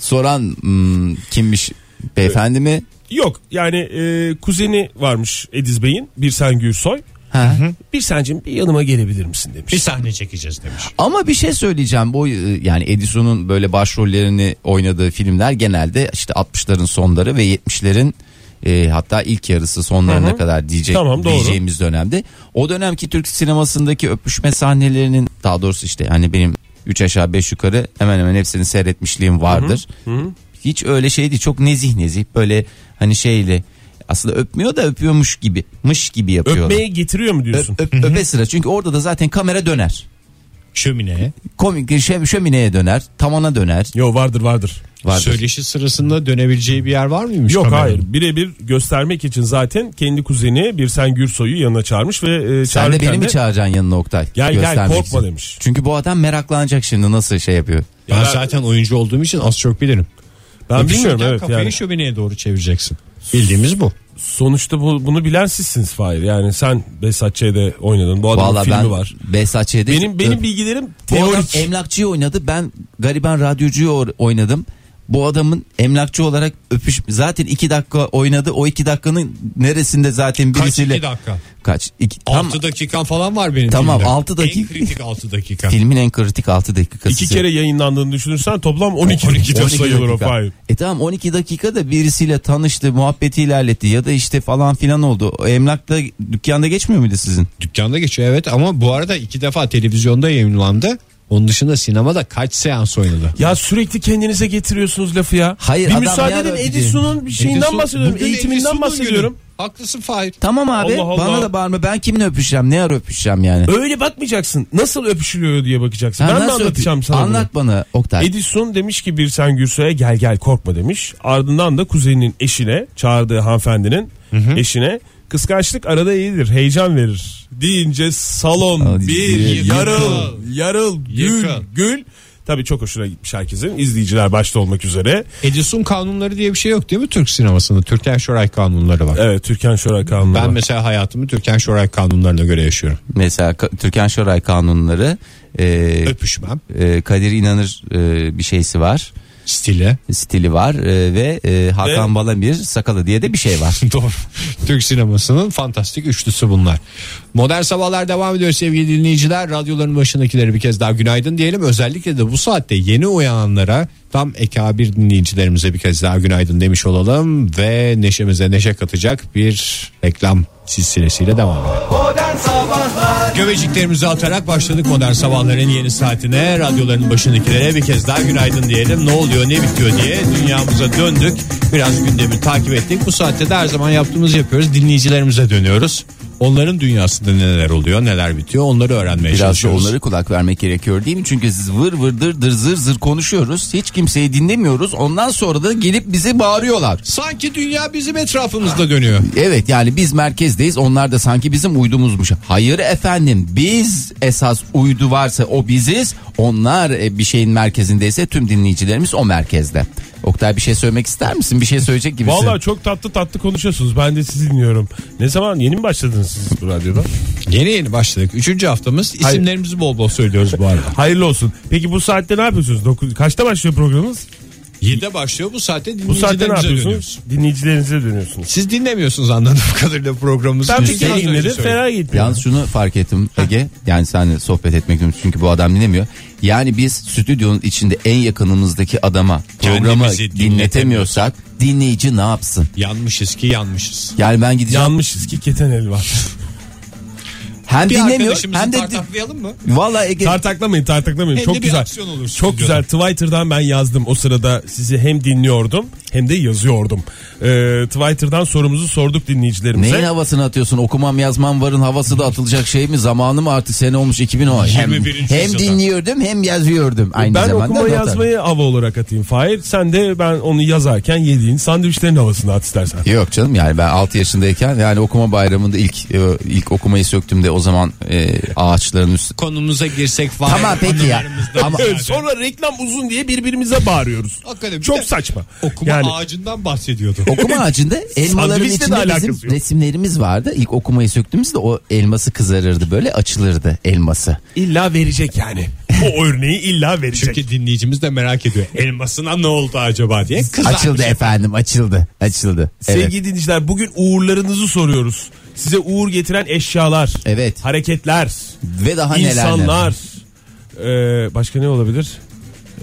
B: Soran hmm, kimmiş beyefendi mi?
D: Yok yani e, kuzeni varmış Ediz Bey'in Birsen Gürsoy.
B: Ha.
D: Birsen'cim bir yanıma gelebilir misin demiş.
C: Bir sahne çekeceğiz demiş.
B: Ama bir şey söyleyeceğim. Bu e, yani Edison'un böyle başrollerini oynadığı filmler genelde işte 60'ların sonları ve 70'lerin e, hatta ilk yarısı sonlarına kadar diyecek
D: Tamam, doğru.
B: diyeceğimiz dönemde. O dönemki Türk sinemasındaki öpüşme sahnelerinin daha doğrusu işte hani benim 3 aşağı 5 yukarı hemen hemen hepsini seyretmişliğim vardır. Hiç öyle şey değil. Çok nezih nezih böyle hani şeyle aslında öpmüyor da öpüyormuş gibi mış gibi yapıyor.
D: Öpmeye getiriyor mu diyorsun?
B: Öp, öp- öpe sıra çünkü orada da zaten kamera döner
C: Şömineye.
B: komik şö- şömineye döner, tavana döner.
D: Yo vardır vardır.
B: Vardır.
C: Söyleşi sırasında dönebileceği bir yer var mıymış?
D: Yok
C: kameranın?
D: hayır birebir göstermek için zaten kendi kuzeni Birsen Gürsoy'u yanına çağırmış ve e,
B: Sen de
D: çağırırken
B: beni mi çağıracaksın yanına Oktay?
D: Gel, gel,
B: Göstermek
D: korkma demiş.
B: Çünkü bu adam meraklanacak şimdi nasıl şey yapıyor.
C: Ben
D: Ya ben-
C: zaten oyuncu olduğum için az çok bilirim.
D: ben bilmiyorum
B: şey
C: Öpüşürken
D: evet
C: Kafayı
D: yani.
C: şömineye doğru çevireceksin. Bildiğimiz bu.
D: Sonuçta bu, bunu bilen sizsiniz Fahir. Yani sen Behzat Ç'de oynadın. Bu adamın
B: Vallahi
D: filmi
B: ben
D: var.
B: Behzat Ç'de-
D: Benim benim bilgilerim
B: Bu adam
D: teorik.
B: emlakçıyı oynadı. Ben gariban radyocuyu or- oynadım. Bu adamın emlakçı olarak öpüş zaten iki dakika oynadı. O iki dakikanın neresinde zaten
C: Kaç
B: birisiyle
C: iki dakika?
B: Kaç? İki- tam
C: 6 dakikan falan var benim
B: Tamam,
C: filmde.
B: altı dakika.
C: En kritik 6 dakika.
B: filmin en kritik 6 dakikası.
D: İki kere yayınlandığını düşünürsen toplam 12, 12
B: 12
D: Hani sayılır o
B: dakika.
D: Fahir.
B: E tamam 12 dakika da birisiyle tanıştı, muhabbeti ilerletti ya da işte falan filan oldu. O emlakta dükkanda geçmiyor muydu sizin?
C: Dükkanda geçiyor evet ama bu arada iki defa televizyonda yayınlandı. Onun dışında sinemada kaç seans oynadı?
D: Ya sürekli kendinize getiriyorsunuz lafı ya.
B: Hayır,
D: bir
B: adam
D: müsaade
B: yer
D: edin
B: öpücüğü.
D: Edison'un bir şeyinden
C: Edison-
D: bahsediyorum.
C: Bugün
D: eğitiminden
C: Edison'un
D: bahsediyorum.
C: günü. Haklısın Fahir.
B: Tamam abi
D: Allah Allah.
B: bana da bağırma ben kimle öpüşeceğim ne ara öpüşeceğim yani.
D: Öyle bakmayacaksın. Nasıl öpüşülüyor diye bakacaksın.
B: Ha,
D: ben de
B: nasıl öpü-
D: anlatacağım sana. bunu.
B: Anlat bana Oktay.
D: Edison demiş ki bir sen Gürsoy'a gel gel korkma demiş. Ardından da kuzeninin eşine çağırdığı hanımefendinin eşine kıskançlık arada iyidir heyecan verir deyince salon
B: Hadi
D: bir
B: yıkıl,
D: yarıl yarıl gül
C: yıkıl.
D: gül. Tabii çok hoşuna gitmiş herkesin izleyiciler başta olmak üzere.
C: Edison kanunları diye bir şey yok değil mi Türk sinemasında? Türkan Şoray kanunları var.
D: Evet Türkan Şoray kanunu.
C: Ben
D: var.
C: mesela hayatımı Türkan Şoray kanunlarına göre yaşıyorum.
B: Mesela Ka- Türkan Şoray kanunları e,
C: Öpüşmem,
B: e, Kadir İnanır e, bir şeysi var
C: stile.
B: stili var e, ve e, Hakan Balamir sakalı diye de bir şey var.
C: Doğru. Türk sinemasının fantastik üçlüsü bunlar. Modern Sabahlar devam ediyor sevgili dinleyiciler. Radyoların başındakileri bir kez daha günaydın diyelim. Özellikle de bu saatte yeni uyananlara tam ekabir dinleyicilerimize bir kez daha günaydın demiş olalım. Ve neşemize neşe katacak bir reklam silsilesiyle devam edelim. Göbeciklerimizi atarak başladık modern sabahların yeni saatine. Radyoların başındakilere bir kez daha günaydın diyelim. Ne oluyor ne bitiyor diye dünyamıza döndük. Biraz gündemi takip ettik. Bu saatte de her zaman yaptığımızı yapıyoruz. Dinleyicilerimize dönüyoruz. Onların dünyasında neler oluyor neler bitiyor onları öğrenmeye
B: Biraz da
C: çalışıyoruz.
B: onlara kulak vermek gerekiyor değil mi? Çünkü siz vır vır dır dır zır zır konuşuyoruz. Hiç kimseyi dinlemiyoruz. Ondan sonra da gelip bizi bağırıyorlar.
C: Sanki dünya bizim etrafımızda dönüyor.
B: Evet yani biz merkezdeyiz. Onlar da sanki bizim uydumuzmuş. Hayır efendim biz esas uydu varsa o biziz. Onlar e, bir şeyin merkezindeyse tüm dinleyicilerimiz o merkezde. Oktay bir şey söylemek ister misin? Bir şey söyleyecek gibisin.
D: Vallahi çok tatlı tatlı konuşuyorsunuz. Ben de sizi dinliyorum. Ne zaman yeni mi başladınız siz bu radyoda?
C: Yeni yeni başladık. Üçüncü haftamız isimlerimizi bol bol söylüyoruz bu arada.
D: Hayırlı olsun. Peki bu saatte ne yapıyorsunuz? Dokuz, kaçta başlıyor programınız?
C: Yedide başlıyor bu saatte
D: Bu saatte ne
C: dinleyicilerimize dönüyoruz.
D: yapıyorsunuz? Dinleyicilerinize dönüyorsunuz.
C: Siz dinlemiyorsunuz anladığım kadarıyla programımızı.
D: Ben bir
C: Üstelik
D: kere
C: önce
D: dinledim
C: söyledim.
D: fena gitmiyor.
B: Yalnız şunu fark ettim Ege. Yani seninle sohbet etmek istiyorum çünkü bu adam dinlemiyor. Yani biz stüdyonun içinde en yakınımızdaki adama programı
C: Kendimizi
B: dinletemiyorsak dinleyici ne yapsın?
C: Yanmışız ki yanmışız.
B: Yani ben gideceğim.
D: Yanmışız ki keten el var.
B: hem
C: Bir
B: dinlemiyor
C: arkadaşımızı
B: hem de
C: tartaklayalım mı?
B: Vallahi Ege
D: tartaklamayın tartaklamayın.
C: Hem de
D: çok
C: bir
D: güzel.
C: aksiyon olur
D: Çok
C: stüdyoda.
D: güzel. Twitter'dan ben yazdım. O sırada sizi hem dinliyordum hem de yazıyordum. Ee, Twitter'dan sorumuzu sorduk dinleyicilerimize.
B: Neyin havasını atıyorsun? Okumam yazmam varın havası da atılacak şey mi? Zamanı mı artık sene olmuş 2010. Hem,
C: 21.
B: hem
C: yüzyılda.
B: dinliyordum hem yazıyordum. Aynı
D: ben
B: zamanda
D: okuma
B: not al-
D: yazmayı ava olarak atayım Fahir. Sen de ben onu yazarken yediğin sandviçlerin havasını at istersen.
B: Yok canım yani ben 6 yaşındayken yani okuma bayramında ilk e, ilk okumayı söktüğümde o zaman e, ağaçların üstü.
C: Konumuza girsek falan.
B: Tamam peki ya. Ama
D: Evet, sonra reklam uzun diye birbirimize bağırıyoruz.
C: Hakikaten bir
D: Çok
C: de
D: saçma.
C: Okuma
D: yani,
C: ağacından bahsediyordu.
B: okuma ağacında elmaların
D: Sandviçle de
B: içinde
D: alakası
B: bizim
D: yok.
B: resimlerimiz vardı. İlk okumayı söktüğümüzde o elması kızarırdı böyle açılırdı elması.
D: illa verecek yani. o örneği illa verecek.
C: Çünkü dinleyicimiz de merak ediyor. Elmasına ne oldu acaba diye. Kızarmış.
B: Açıldı efendim açıldı açıldı. Evet.
D: Sevgili dinleyiciler bugün uğurlarınızı soruyoruz. Size uğur getiren eşyalar,
B: Evet.
D: hareketler,
B: Ve daha neler neler.
D: insanlar. Ee, başka ne olabilir?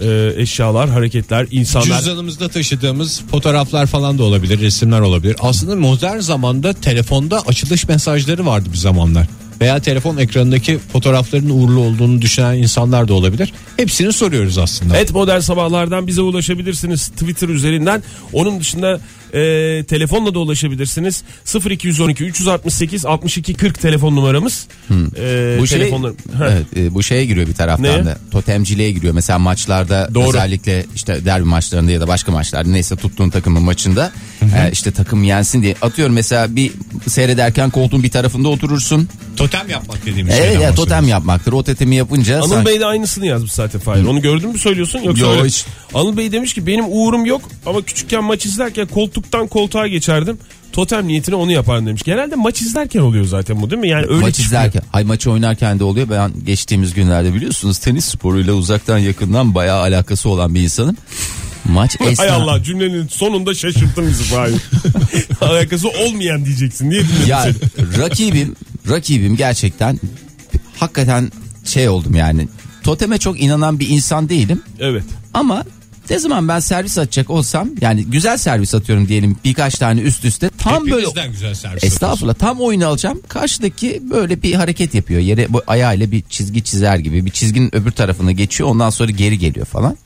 D: Ee, eşyalar, hareketler, insanlar.
C: Cüzdanımızda taşıdığımız fotoğraflar falan da olabilir, resimler olabilir. Aslında modern zamanda telefonda açılış mesajları vardı bir zamanlar. Veya telefon ekranındaki fotoğrafların uğurlu olduğunu düşünen insanlar da olabilir. Hepsini soruyoruz aslında.
B: E-
D: Et modern sabahlardan bize ulaşabilirsiniz Twitter üzerinden. Onun dışında e, telefonla da ulaşabilirsiniz. 0212 368 62 40 telefon numaramız. E,
B: Bu şey,
D: telefonlar- Heh.
B: evet, e, bu şeye giriyor bir taraftan
D: Neye?
B: da. Totemciliğe giriyor. Mesela maçlarda
D: Doğru.
B: özellikle işte derbi maçlarında ya da başka maçlarda neyse tuttuğun takımın maçında e, işte takım yensin diye atıyorum mesela bir seyrederken koltuğun bir tarafında oturursun.
C: Totem yapmak dediğimiz şeyden
B: Evet E- ya
C: bahsediyoruz.
B: totem yapmaktır. O totemi yapınca
D: Şey Anıl
B: sanki-
D: Bey de aynısını yazmış zaten Fahir. Onu gördün mü söylüyorsun yoksa
B: Yo,
D: öyle-
B: hiç.
D: Anıl Bey demiş ki benim uğurum yok ama küçükken maç izlerken koltuktan koltuğa geçerdim. Totem niyetine onu yaparım demiş. Genelde maç izlerken oluyor zaten bu değil mi? Yani öyle
B: maç
D: çıkıyor.
B: izlerken, hay maçı oynarken de oluyor. Ben geçtiğimiz günlerde biliyorsunuz tenis sporuyla uzaktan yakından bayağı alakası olan bir insanım. Maç
D: Hay
B: esnasında
D: Allah cümlenin sonunda şaşırttın bizi Fahir. Alakası olmayan diyeceksin. Niye dinledin
B: ya
D: seni?
B: rakibim rakibim gerçekten hakikaten şey oldum yani. Toteme çok inanan bir insan değilim
D: Evet.
B: ama ne zaman ben servis atacak olsam yani güzel servis atıyorum diyelim birkaç tane üst üste tam böyle
C: Hepinizden güzel servis atıyorsunuz.
B: Estağfurullah tam oyunu alacağım. Karşıdaki böyle bir hareket yapıyor. Yere bu ayağıyla bir çizgi çizer gibi. Bir çizginin öbür tarafına geçiyor. Ondan sonra geri geliyor falan.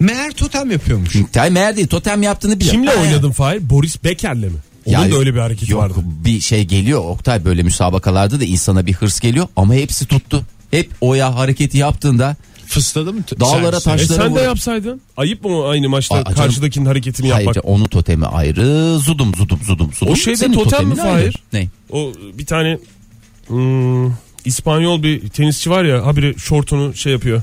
C: Meğer totem yapıyormuş.
B: Tay meğer değil totem yaptığını biliyor.
D: Kimle
B: Ha.
D: oynadın Fahir? Boris Becker'le mi? Onun
B: Ya-
D: da öyle bir hareketi
B: yok,
D: vardı. E,
B: bir şey geliyor Oktay böyle müsabakalarda da insana bir hırs geliyor ama hepsi tuttu. Hep oya hareketi yaptığında
C: Fısladı mı? t-
B: Dağlara
C: servisleri?
D: E
B: taşlara
D: sen de
B: vur-
D: yapsaydın. Ayıp mı aynı maçta
B: Aa, canım.
D: karşıdakinin hareketini
B: hayır
D: yapmak?
B: onun totemi ayrı zudum zudum zudum zudum.
D: O şeyde
B: Senin
D: totem
B: totemin
D: mi
B: ayrı.
D: Fahir?
B: Ne?
D: O bir tane hmm, İspanyol bir tenisçi var ya habire şortunu şey yapıyor.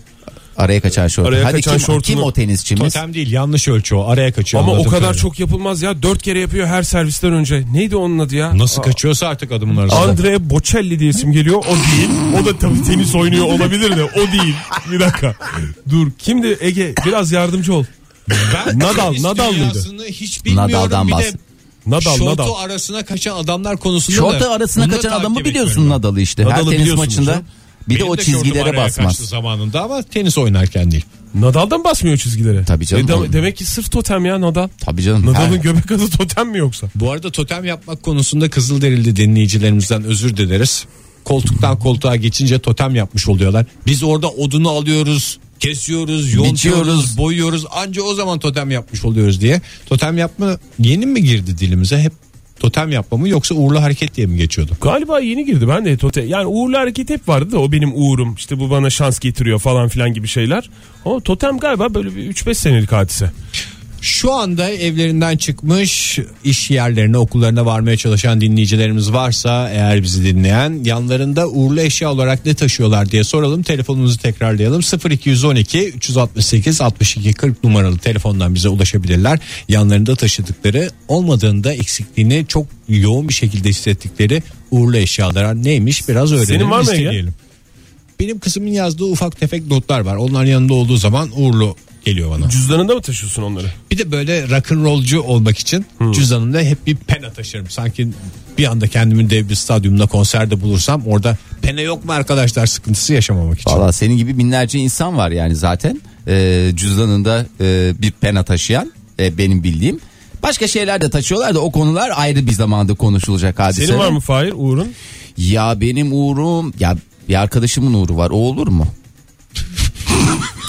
B: Araya kaçan şort.
D: Araya
B: Hadi
D: kaçan
B: kim,
D: şortunu-
B: kim o tenisçimiz?
C: Totem değil yanlış ölçü o araya kaçıyor.
D: Ama o
C: anladığım
D: kadar
C: kadarıyla.
D: çok yapılmaz ya. Dört kere yapıyor her servisten önce. Neydi onun adı ya?
C: Nasıl
D: Aa,
C: kaçıyorsa artık adımın arasında.
D: Andre Bocelli diye isim geliyor. O değil. O da tabii tenis oynuyor olabilir de o değil. Bir dakika. Dur. Kimdi Ege? Biraz yardımcı ol.
C: Ben
D: Nadal,
C: tenis
D: Nadal mıydı?
C: dünyasını Hiç bilmiyorum
B: Nadal'dan
C: bir de
B: bahs-
D: Nadal,
C: şortu
D: Nadal.
C: arasına kaçan adamlar konusunda
B: Şorta
C: da
B: arasına
C: bunu da
B: kaçan adamı
C: takip
B: biliyorsun
C: ediyorum ben.
B: Nadal'ı işte. Her
D: Nadal'ı
B: tenis
D: biliyorsunuz
B: maçında
D: canım.
B: bir de
C: Benim
B: o
C: şortum
B: çizgilere
C: araya
B: basmaz.
C: kaçtı zamanında ama tenis oynarken değil.
D: Nadal'dan basmıyor çizgilere.
B: Tabii canım.
D: de- demek ki sırf totem ya Nadal.
B: Tabii canım.
D: Nadal'ın
B: Her-
D: göbek adı totem mi yoksa?
C: Bu arada totem yapmak konusunda Kızılderili dinleyicilerimizden özür dileriz. Koltuktan koltuğa geçince totem yapmış oluyorlar. Biz orada odunu alıyoruz, kesiyoruz, yontuyoruz,
B: Biçiyoruz.
C: boyuyoruz. Anca o zaman totem yapmış oluyoruz diye. Totem yapma yeni mi girdi dilimize? Hep totem yapma mı yoksa uğurlu hareket diye mi geçiyordu?
D: Galiba yeni girdi ben de totem. Yani uğurlu hareket hep vardı da o benim uğurum. İşte bu bana şans getiriyor falan filan gibi şeyler. O totem galiba böyle bir 3-5 senelik hadise.
C: Şu anda evlerinden çıkmış iş yerlerine okullarına varmaya çalışan dinleyicilerimiz varsa eğer bizi dinleyen yanlarında uğurlu eşya olarak ne taşıyorlar diye soralım. Telefonumuzu tekrarlayalım 0212 368 62 40 numaralı telefondan bize ulaşabilirler. Yanlarında taşıdıkları olmadığında eksikliğini çok yoğun bir şekilde hissettikleri uğurlu eşyalar neymiş biraz öğrenelim
D: var mı Ege?
C: isteyelim. Benim kızımın yazdığı ufak tefek notlar var. Onların yanında olduğu zaman uğurlu geliyor bana.
D: Cüzdanında mı taşıyorsun onları?
C: Bir de böyle rock'n'rollcu olmak için
B: Hmm.
C: cüzdanımda hep bir pena taşırım. Sanki bir anda kendimi dev bir stadyumda konserde bulursam orada pena yok mu arkadaşlar sıkıntısı yaşamamak için.
B: Valla senin gibi binlerce insan var yani zaten Ee, cüzdanında e, bir pena taşıyan e, benim bildiğim. Başka şeyler de taşıyorlar da o konular ayrı bir zamanda konuşulacak hadise.
D: Senin var mı Fahir uğurun?
B: Ya benim uğrum ya bir arkadaşımın uğru var o olur mu?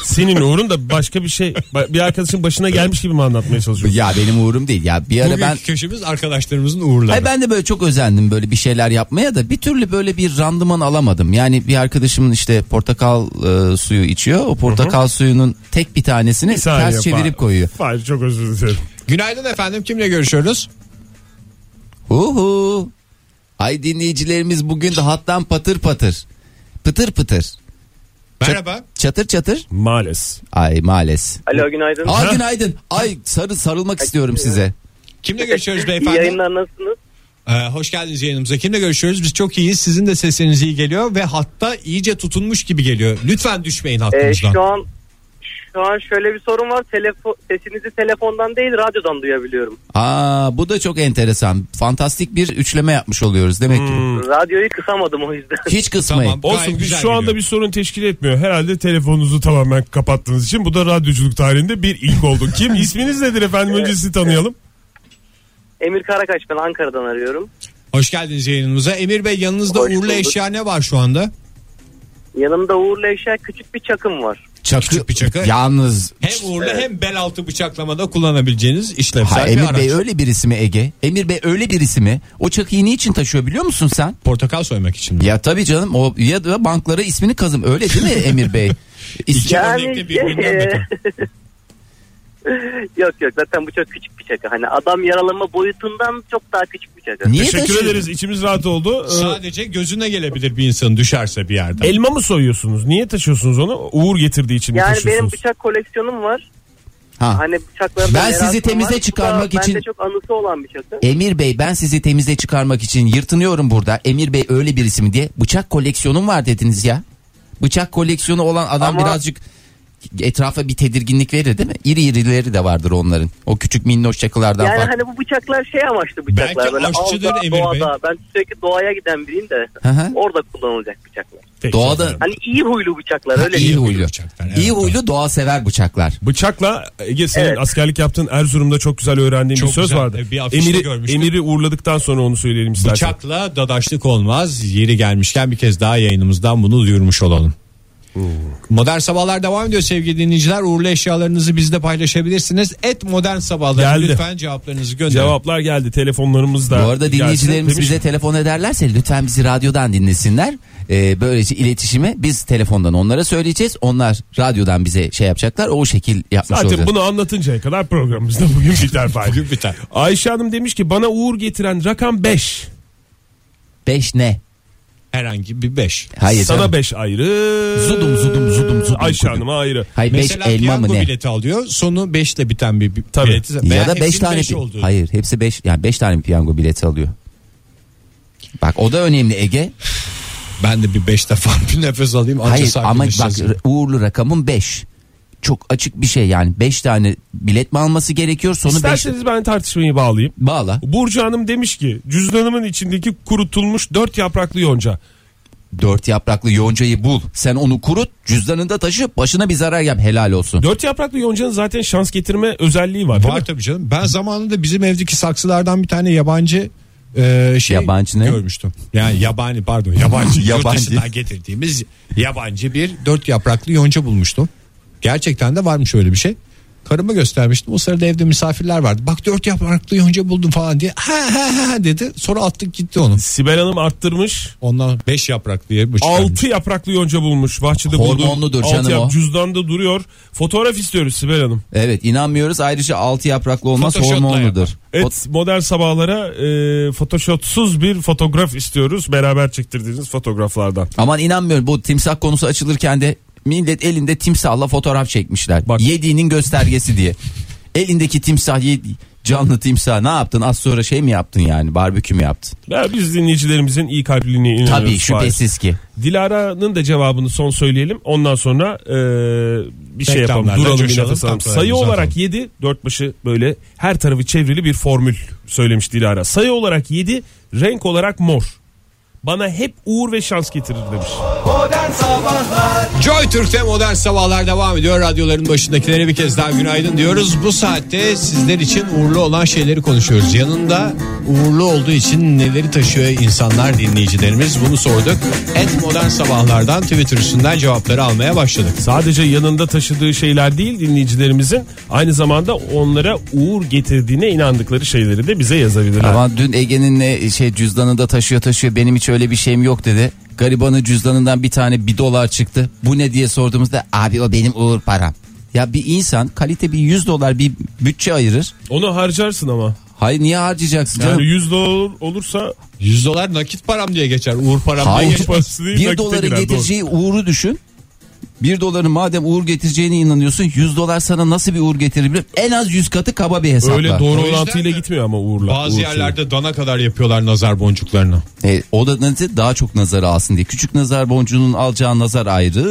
D: Senin uğurun da başka bir şey. Ba- Bir arkadaşın başına gelmiş gibi mi anlatmaya çalışıyorsun?
B: Ya benim uğrum değil ya bir ara
C: Bugünkü
B: ben...
C: köşemiz arkadaşlarımızın uğurları.
B: Ay ben de böyle çok özendim böyle bir şeyler yapmaya da bir türlü böyle bir randıman alamadım. Yani bir arkadaşımın işte portakal e, suyu içiyor. O portakal suyunun tek bir tanesini
D: Bir saniye
B: ters
D: Fahir.
B: çevirip koyuyor.
D: Fahir çok özür dilerim.
C: Günaydın efendim kimle görüşüyoruz?
B: Uhu. Ay dinleyicilerimiz bugün de hattan patır patır. Pıtır pıtır.
C: Merhaba.
B: Çatır çatır.
D: Maalesef.
B: Ay maalesef.
E: Alo günaydın.
B: Ay günaydın. Ay sarı sarılmak istiyorum size.
C: Kimle görüşüyoruz
E: İyi
C: beyefendi?
E: yayınlar nasılsınız?
C: Ee, hoş geldiniz yayınımıza. Kimle görüşüyoruz? Biz çok iyiyiz. Sizin de sesiniz iyi geliyor ve hatta iyice tutunmuş gibi geliyor. Lütfen düşmeyin
E: Ee,
C: hattımızdan.
E: şu an şu an şöyle bir sorun var. Telefon sesinizi telefondan değil radyodan duyabiliyorum.
B: Aa bu da çok enteresan. Fantastik bir üçleme yapmış oluyoruz demek ki.
E: Radyoyu kısamadım o yüzden.
B: Hiç kısmayın.
C: Hmm. Tamam. Gayet
D: Olsun biz
C: güzel
D: şu anda
C: geliyor.
D: bir sorun teşkil etmiyor. Herhalde telefonunuzu tamamen kapattığınız için bu da radyoculuk tarihinde bir ilk oldu. Kim? İsminiz nedir efendim? Önce sizi tanıyalım.
E: Emir Karakaç ben Ankara'dan arıyorum.
C: Hoş geldiniz yayınımıza. Emir Bey yanınızda
E: Hoş
C: uğurlu
E: bulduk.
C: eşya ne var şu anda?
E: Yanımda Uğur'la eşya küçük bir çakım var.
B: Çakı,
C: Küçük bir çakı.
B: Yalnız
C: Hem uğurlu hem bel altı bıçaklamada kullanabileceğiniz işlevsel
B: ha,
C: bir
B: Emir
C: araç.
B: Bey öyle birisi mi Ege? Emir Bey öyle birisi mi? O çakıyı niçin taşıyor biliyor musun sen?
C: Portakal soymak için. mi?
B: Ya tabii canım o ya da banklara ismini kazım. Öyle değil mi Emir Bey? İs-
C: İki örnekte birbirinden beter.
E: yok yok zaten bu çok küçük bir çakı. Hani adam yaralama boyutundan çok daha küçük bir çakı.
B: Niye
D: Teşekkür
B: taşıyor?
D: ederiz. İçimiz rahat oldu. Ee,
C: Sadece gözüne gelebilir bir insanın düşerse bir yerden.
D: elma mı soyuyorsunuz? Niye taşıyorsunuz onu? Uğur getirdiği için mi
E: Yani benim
D: taşıyorsunuz?
E: bıçak koleksiyonum var.
B: Ha.
E: Hani bıçaklardan
B: Ben
E: el
B: sizi
E: atma
B: temize
E: var. Bu da
B: çıkarmak için-
E: Bende çok anısı olan bir şaka.
B: Emir Bey ben sizi temize çıkarmak için yırtınıyorum burada. Emir Bey öyle birisi mi diye. Bıçak koleksiyonum var dediniz ya. Bıçak koleksiyonu olan adam
E: Ama-
B: birazcık etrafa bir tedirginlik verir değil mi? İri irileri de vardır onların. O küçük minnoş çakılardan
E: Yani
B: farklı.
E: hani bu bıçaklar şey amaçlı bıçaklar.
C: Belki
E: Böyle
C: aşçıdır
E: avda,
C: Emir Bey.
E: doğada. Ben sürekli doğaya giden biriyim de
B: Hı hı.
E: orada kullanılacak bıçaklar.
D: Peki.
B: Doğada
E: Hani iyi huylu bıçaklar öyle
B: iyi
E: değil.
B: huylu.
C: bıçaklar, evet,
B: iyi
C: doğru.
B: huylu doğa sever bıçaklar.
D: Bıçakla Ege senin
E: Evet.
D: askerlik yaptığın Erzurum'da çok güzel öğrendiğim
C: Çok
D: bir söz
C: güzel.
D: vardı.
C: E, bir afişte
D: Emiri,
C: görmüştüm.
D: Emiri uğurladıktan sonra onu söyleyelim istersen.
C: Bıçakla dadaşlık olmaz. Yeri gelmişken bir kez daha yayınımızdan bunu duyurmuş olalım. Modern Sabahlar devam ediyor sevgili dinleyiciler. Uğurlu eşyalarınızı bizle paylaşabilirsiniz. Et Modern Sabahlar
D: Geldi.
C: lütfen cevaplarınızı gönderin.
D: Cevaplar geldi telefonlarımız da.
B: Bu arada
D: gelsin
B: dinleyicilerimiz
D: demiş.
B: bize telefon ederlerse lütfen bizi radyodan dinlesinler. Ee, böylece iletişimi biz telefondan onlara söyleyeceğiz. Onlar radyodan bize şey yapacaklar. O şekil yapmış
D: Zaten
B: olacağız.
D: bunu anlatıncaya kadar programımızda bugün biter Fahir.
C: Bugün biter.
D: Ayşe Hanım demiş ki bana uğur getiren rakam 5.
B: 5 ne?
C: Herhangi bir beş.
B: Hayır.
D: Sana
B: canım.
D: 5 ayrı.
B: Zudum zudum zudum zudum.
D: Ayşe Hanım'a ayrı.
B: Hayır 5
C: Mesela
B: elma mı
C: piyango
B: ne?
C: bileti alıyor. Sonu 5 ile biten bir bi-
D: Tabii.
C: bileti.
B: Ya
C: Veya
B: da 5
C: hepsinin
B: tane.
C: beş
B: pi-
C: olduğu.
B: Hayır hepsi 5 yani 5 tane piyango bileti alıyor. Bak o da önemli Ege.
C: Ben de bir 5 defa bir nefes alayım. anca
B: Hayır ama bak
C: sakinleşeceğiz.
B: r- uğurlu rakamın 5. Çok açık bir şey yani 5 tane bilet mi alması gerekiyor sonu 5
D: İsterseniz ben tartışmayı bağlayayım.
B: bağla.
D: Burcu Hanım demiş ki cüzdanımın içindeki kurutulmuş dört yapraklı yonca.
B: Dört yapraklı yoncayı bul. Sen onu kurut, cüzdanında taşı, başına bir zarar yap. Helal olsun.
D: Dört yapraklı yoncanın zaten şans getirme özelliği var. değil
C: Var
D: mi?
C: tabii canım. Ben zamanında bizim evdeki saksılardan bir tane yabancı e, şey
B: Yabancı ne?
C: görmüştüm. Yani yabani pardon yabancı,
B: Yabancı.
C: yurt dışından getirdiğimiz yabancı bir dört yapraklı yonca bulmuştum. Gerçekten de varmış öyle bir şey. Karıma göstermiştim. O sırada evde misafirler vardı. Bak dört yapraklı yonca buldum falan diye. Ha ha ha dedi. Sonra attık gitti onun.
D: Sibel Hanım arttırmış.
C: Ondan beş yapraklı diye bıçaklandı.
D: altı yapraklı yonca bulmuş. Bahçede
B: Hormonludur
D: Altı
B: canım o.
D: Cüzdanda duruyor. Fotoğraf istiyoruz Sibel Hanım.
B: Evet inanmıyoruz. Ayrıca altı yapraklı olmaz
C: Photoshop'la
B: hormonludur. Ot-
D: Evet modern sabahlara e, photoshotsuz bir fotoğraf istiyoruz. Beraber çektirdiğiniz fotoğraflardan.
B: Aman inanmıyorum bu timsah konusu açılırken de millet elinde timsahla fotoğraf çekmişler.
D: Bak.
B: Yediğinin göstergesi diye. Elindeki timsah ye- canlı timsah ne yaptın? Az sonra şey mi yaptın yani? Barbekü mü yaptın?
D: Ya biz dinleyicilerimizin iyi kalpliliğine inanıyoruz.
B: Tabii
D: Fahir.
B: şüphesiz ki.
D: Dilara'nın da cevabını son söyleyelim. Ondan sonra e, bir şey yapalım.
C: Reklamlardan
D: Duralım bir
C: coşalım,
D: nefes alalım.
C: tatlı
D: Sayı
C: aramızı
D: olarak
C: atalım.
D: 7, dört başı böyle her tarafı çevrili bir formül söylemiş Dilara. Sayı olarak 7, renk olarak mor. Bana hep uğur ve şans getirir demiş.
C: Joy Türk'te modern sabahlar devam ediyor. Radyoların başındakilere bir kez daha günaydın diyoruz. Bu saatte sizler için uğurlu olan şeyleri konuşuyoruz. Yanında uğurlu olduğu için neleri taşıyor insanlar dinleyicilerimiz bunu sorduk. Et modern sabahlardan Twitter üstünden cevapları almaya başladık.
D: Sadece yanında taşıdığı şeyler değil dinleyicilerimizin aynı zamanda onlara uğur getirdiğine inandıkları şeyleri de bize yazabilirler.
B: Ama dün Ege'nin ne şey cüzdanında taşıyor taşıyor benim hiç öyle bir şeyim yok dedi. Garibanın cüzdanından bir tane bir dolar çıktı. Bu ne diye sorduğumuzda abi o benim uğur param. Ya bir insan kalite bir 100 dolar bir bütçe ayırır.
D: Onu harcarsın ama.
B: Hayır niye harcayacaksın
D: Yani
B: canım?
D: 100 dolar olursa
C: 100 dolar nakit param diye geçer. Uğur param diye
B: Hayır.
C: geçer.
D: parası değil,
B: Bir
D: nakite
B: doları
D: girer, doğru.
B: getireceği uğuru düşün. Bir doların madem uğur getireceğine inanıyorsun 100 dolar sana nasıl bir uğur getirebilir? En az 100 katı kaba bir hesapla.
D: öyle
C: O
D: doğru
C: yüzden
D: orantıyla
C: de
D: gitmiyor ama uğurla.
C: Bazı
D: uğur şeyi.
C: yerlerde dana kadar yapıyorlar nazar boncuklarını.
B: E, o da nasıl daha çok nazarı alsın diye. Küçük nazar boncuğunun alacağı nazar ayrı.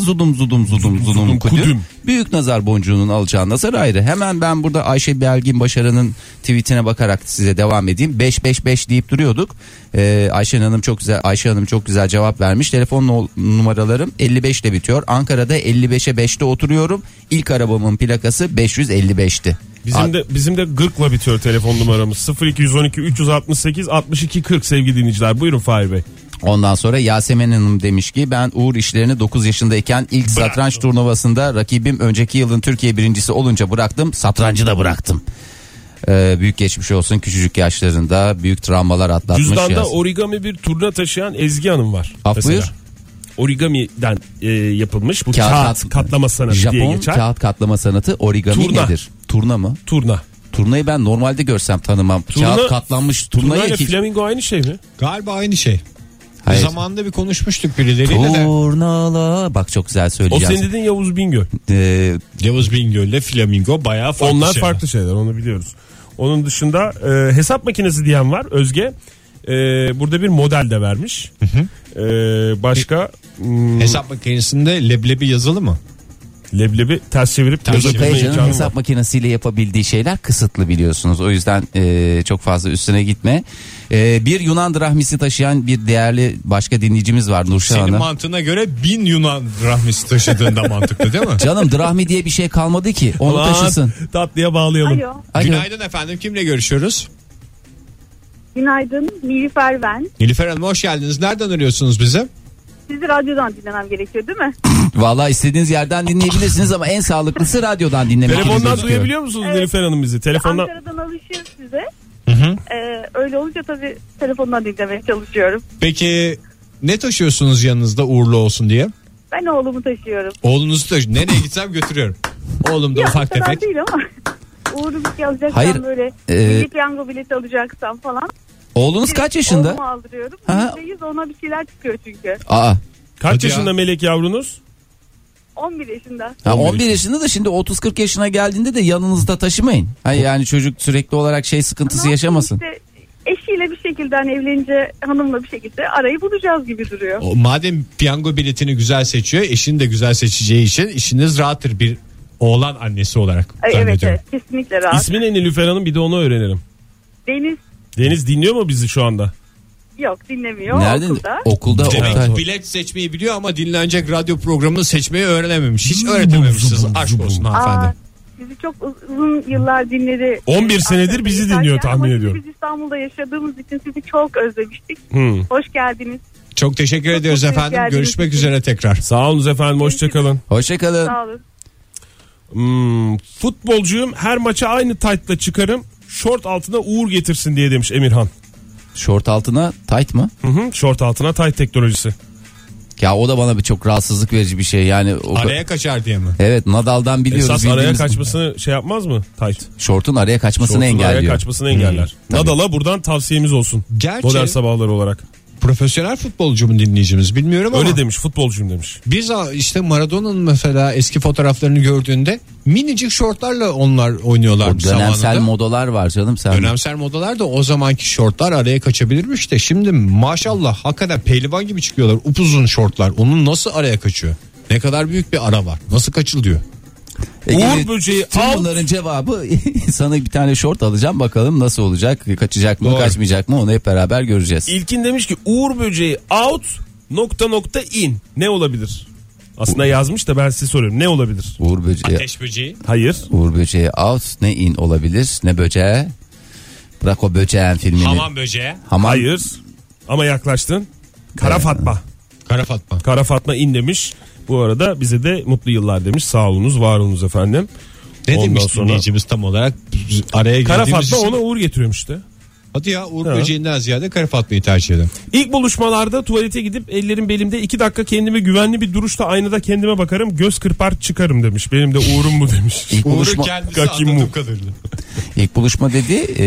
B: Zudum zudum zudum zudum
D: zudum
B: kudüm.
D: kudüm.
B: Büyük nazar boncuğunun alacağı nazar ayrı. Hemen ben burada Ayşe Belgin Başaran'ın tweetine bakarak size devam edeyim. 555 deyip duruyorduk. E, Ayşe Hanım çok güzel Ayşe Hanım çok güzel cevap vermiş. Telefon no- numaralarım 55 ile bitiyor. Ankara'da 55'e 5'te oturuyorum. İlk arabamın plakası 555'ti.
D: Bizim de bizim de gırkla bitiyor telefon numaramız. 0212 368 62 40 sevgili dinleyiciler. Buyurun Fahir Bey.
B: Ondan sonra Yasemin Hanım demiş ki ben Uğur işlerini 9 yaşındayken ilk satranç turnuvasında rakibim önceki yılın Türkiye birincisi olunca bıraktım. Satrancı da bıraktım. Ee, büyük geçmiş olsun küçücük yaşlarında büyük travmalar atlatmış.
D: Cüzdanda
B: yaz.
D: origami bir turna taşıyan Ezgi Hanım var.
B: Ah,
D: Mesela.
B: buyur.
D: Origamiden e, yapılmış bu
B: Kağıt
D: kağıt,
B: kat-
D: katlama sanatı diye
B: Japon
D: geçer.
B: kağıt katlama sanatı origami
D: Turna.
B: nedir? Turna mı?
D: Turna.
B: Turnayı ben normalde görsem tanımam.
D: Turna-
B: kağıt katlanmış
D: Turna
B: turnayı
D: ile
B: ki...
D: flamingo aynı şey mi?
C: Galiba aynı şey.
B: Hayır.
C: Zamanında bir konuşmuştuk birileriyle de.
B: Turnala. Bak çok güzel
D: O
B: söyleyeceğiz.
D: senin dediğin Yavuz Bingöl.
B: Ee,
C: Yavuz Bingöl ile Flamingo bayağı farklı şey.
D: Onlar
C: şeyler.
D: farklı şeyler onu biliyoruz. Onun dışında e, hesap makinesi diyen var Özge. E, burada bir model de vermiş. E, başka hmm,
C: Hesap makinesinde leblebi yazılı mı?
D: leblebi ters çevirip
C: Ters
D: yazabilme
C: çevirip.
D: imkanı
B: Kayıcı'nın
D: var.
B: hesap makinesiyle yapabildiği şeyler kısıtlı biliyorsunuz. O yüzden e, çok fazla üstüne gitme. E, bir Yunan drahmisi taşıyan bir değerli başka dinleyicimiz var Nurşah
C: Senin
B: Hanım.
C: mantığına göre bin Yunan rahmisi taşıdığında mantıklı değil mi?
B: Canım drahmi diye bir şey kalmadı ki. Onu
D: Aman,
B: taşısın.
D: Tatlıya bağlayalım.
F: Alo.
B: Alo.
C: Günaydın efendim kimle görüşüyoruz?
F: Günaydın. Nilüfer ben.
C: Nilüfer Hanım hoş geldiniz. Nereden arıyorsunuz bizi?
F: Sizi radyodan dinlemem gerekiyor değil mi?
B: Vallahi istediğiniz yerden dinleyebilirsiniz ama en sağlıklısı radyodan dinlemek. gibi
D: Telefondan
B: gözüküyor.
D: duyabiliyor musunuz Nilüfer Hanım bizi? Telefondan
F: Ankara'dan alışıyor size. Ee, öyle olunca tabii telefondan dinlemeye çalışıyorum.
C: Peki ne taşıyorsunuz yanınızda uğurlu olsun diye?
F: Ben oğlumu taşıyorum.
C: Oğlunuzu taşı. Nereye gitsem götürüyorum. Oğlum da
F: Ya
C: ufak
F: o kadar
C: tefek.
F: değil ama. Uğur'u bir şey alacaksam
B: Hayır,
F: böyle
B: e,
F: milli piyango bileti alacaksam falan.
B: Oğlunuz kaç yaşında?
F: Oğlumu aldırıyorum.
B: Ha.
F: %100 ona bir şeyler çıkıyor çünkü.
B: Aa.
D: kaç
C: Hadi ya.
D: yaşında Melek yavrunuz?
F: 11 yaşında.
B: Ha,
C: 11
B: 11 yaşında da şimdi 30-40 yaşına geldiğinde de yanınızda taşımayın. Hayır yani çocuk sürekli olarak şey sıkıntısı
F: Ne yapayım
B: yaşamasın.
F: işte, eşiyle bir şekilde hani evlenince hanımla bir şekilde arayı bulacağız gibi duruyor.
C: O, madem piyango biletini güzel seçiyor, eşini de güzel seçeceği için işiniz rahattır bir oğlan annesi olarak.
F: Ay, evet
C: zannediyorum.
F: evet kesinlikle rahat.
D: İsmi ne Nilüfer Hanım bir de onu öğrenelim.
F: Deniz
D: Deniz dinliyor mu bizi şu anda?
F: yok dinlemiyor
B: Nerede?
F: okulda.
B: Okulda.
C: Demek
B: Oktay.
C: ki bilet seçmeyi biliyor ama dinlenecek radyo programını seçmeyi öğrenememiş. Hiç öğretememişsiniz. Aşk olsun
F: Aa,
C: hanımefendi.
F: sizi çok uz- uzun yıllar dinledi.
D: 11 senedir bizi
F: Ankara'da
D: dinliyor
F: yaşarken
D: tahmin
F: ama
D: ediyorum.
F: Biz İstanbul'da yaşadığımız için sizi çok özlemiştik.
D: Hmm.
F: Hoş geldiniz.
C: Çok teşekkür
F: Çok
C: ediyoruz
F: teşekkür
C: efendim.
F: ederiz.
C: Görüşmek üzere tekrar.
D: Sağ olunuz efendim hoşçakalın.
B: Hoşçakalın.
F: Sağ olun.
D: Hmm, futbolcuyum her maça aynı tight'la çıkarım. Şort altına uğur getirsin diye demiş Emirhan.
B: Şort altına tight mı?
D: Hı hı, şort altına tight teknolojisi.
B: Ya o da bana bir çok rahatsızlık verici bir şey. Yani o
C: Araya kaçar diye mi?
B: Evet Nadal'dan biliyoruz.
D: Esas araya
B: bildiğimiz-
D: kaçmasını şey yapmaz mı? Tight.
B: Şortun araya kaçmasını
D: Şortun
B: engelliyor.
D: araya kaçmasını engeller.
B: tabii.
D: Nadal'a buradan tavsiyemiz olsun.
C: Hmm, Gerçi-
D: Modern sabahlar olarak.
C: Profesyonel futbolcu mu dinleyicimiz bilmiyorum ama.
D: Öyle demiş futbolcuyum demiş.
C: Bir zaman işte Maradona'nın mesela eski fotoğraflarını gördüğünde minicik şortlarla onlar oynuyorlar.
B: O dönemsel
C: zamanında.
B: modalar var canım sen.
C: Dönemsel modalar da o zamanki şortlar araya kaçabilirmiş de şimdi maşallah hakikaten pehlivan gibi çıkıyorlar upuzun şortlar. Onun nasıl araya kaçıyor? Ne kadar büyük bir ara var. Nasıl kaçılıyor?
D: Uğur böceği
B: E, tüm
D: al.
B: bunların cevabı sana bir tane şort alacağım bakalım nasıl olacak kaçacak mı
C: Doğru.
B: kaçmayacak mı onu hep beraber göreceğiz.
D: İlkin demiş ki Uğur böceği out nokta nokta in. Ne olabilir? Aslında yazmış da ben size soruyorum. Ne olabilir?
B: Uğur böceği
C: Ateş böceği.
D: Hayır.
B: Uğur böceği out ne in olabilir ne böceğe. Bırak o böceğin filmini.
C: böceği.
B: Hamam.
D: Hayır. Ama yaklaştın. Kara Fatma.
C: Kara Fatma.
D: Kara Fatma in demiş. Bu arada bize de mutlu yıllar demiş. Sağ olunuz, var olunuz efendim.
C: Ne
D: Ondan
C: demiş
D: sonra-
C: dinleyicimiz tam olarak Biz araya
D: Kara
C: girdiğimiz
D: Fatma
C: için-
D: ona uğur getiriyormuş işte.
C: Hadi ya Uğur
D: Ha.
C: Böceği'nden ziyade Kara Fatma'yı tercih eden.
D: İlk buluşmalarda tuvalete gidip ellerim belimde iki dakika kendimi güvenli bir duruşta aynada kendime bakarım göz kırpar çıkarım demiş. Benim de uğurum bu demiş.
B: İlk buluşma,
C: Uğur'un kendisi
D: Kakim
C: anladığım
D: Mu.
C: kadarıyla.
B: ilk buluşma dedi e,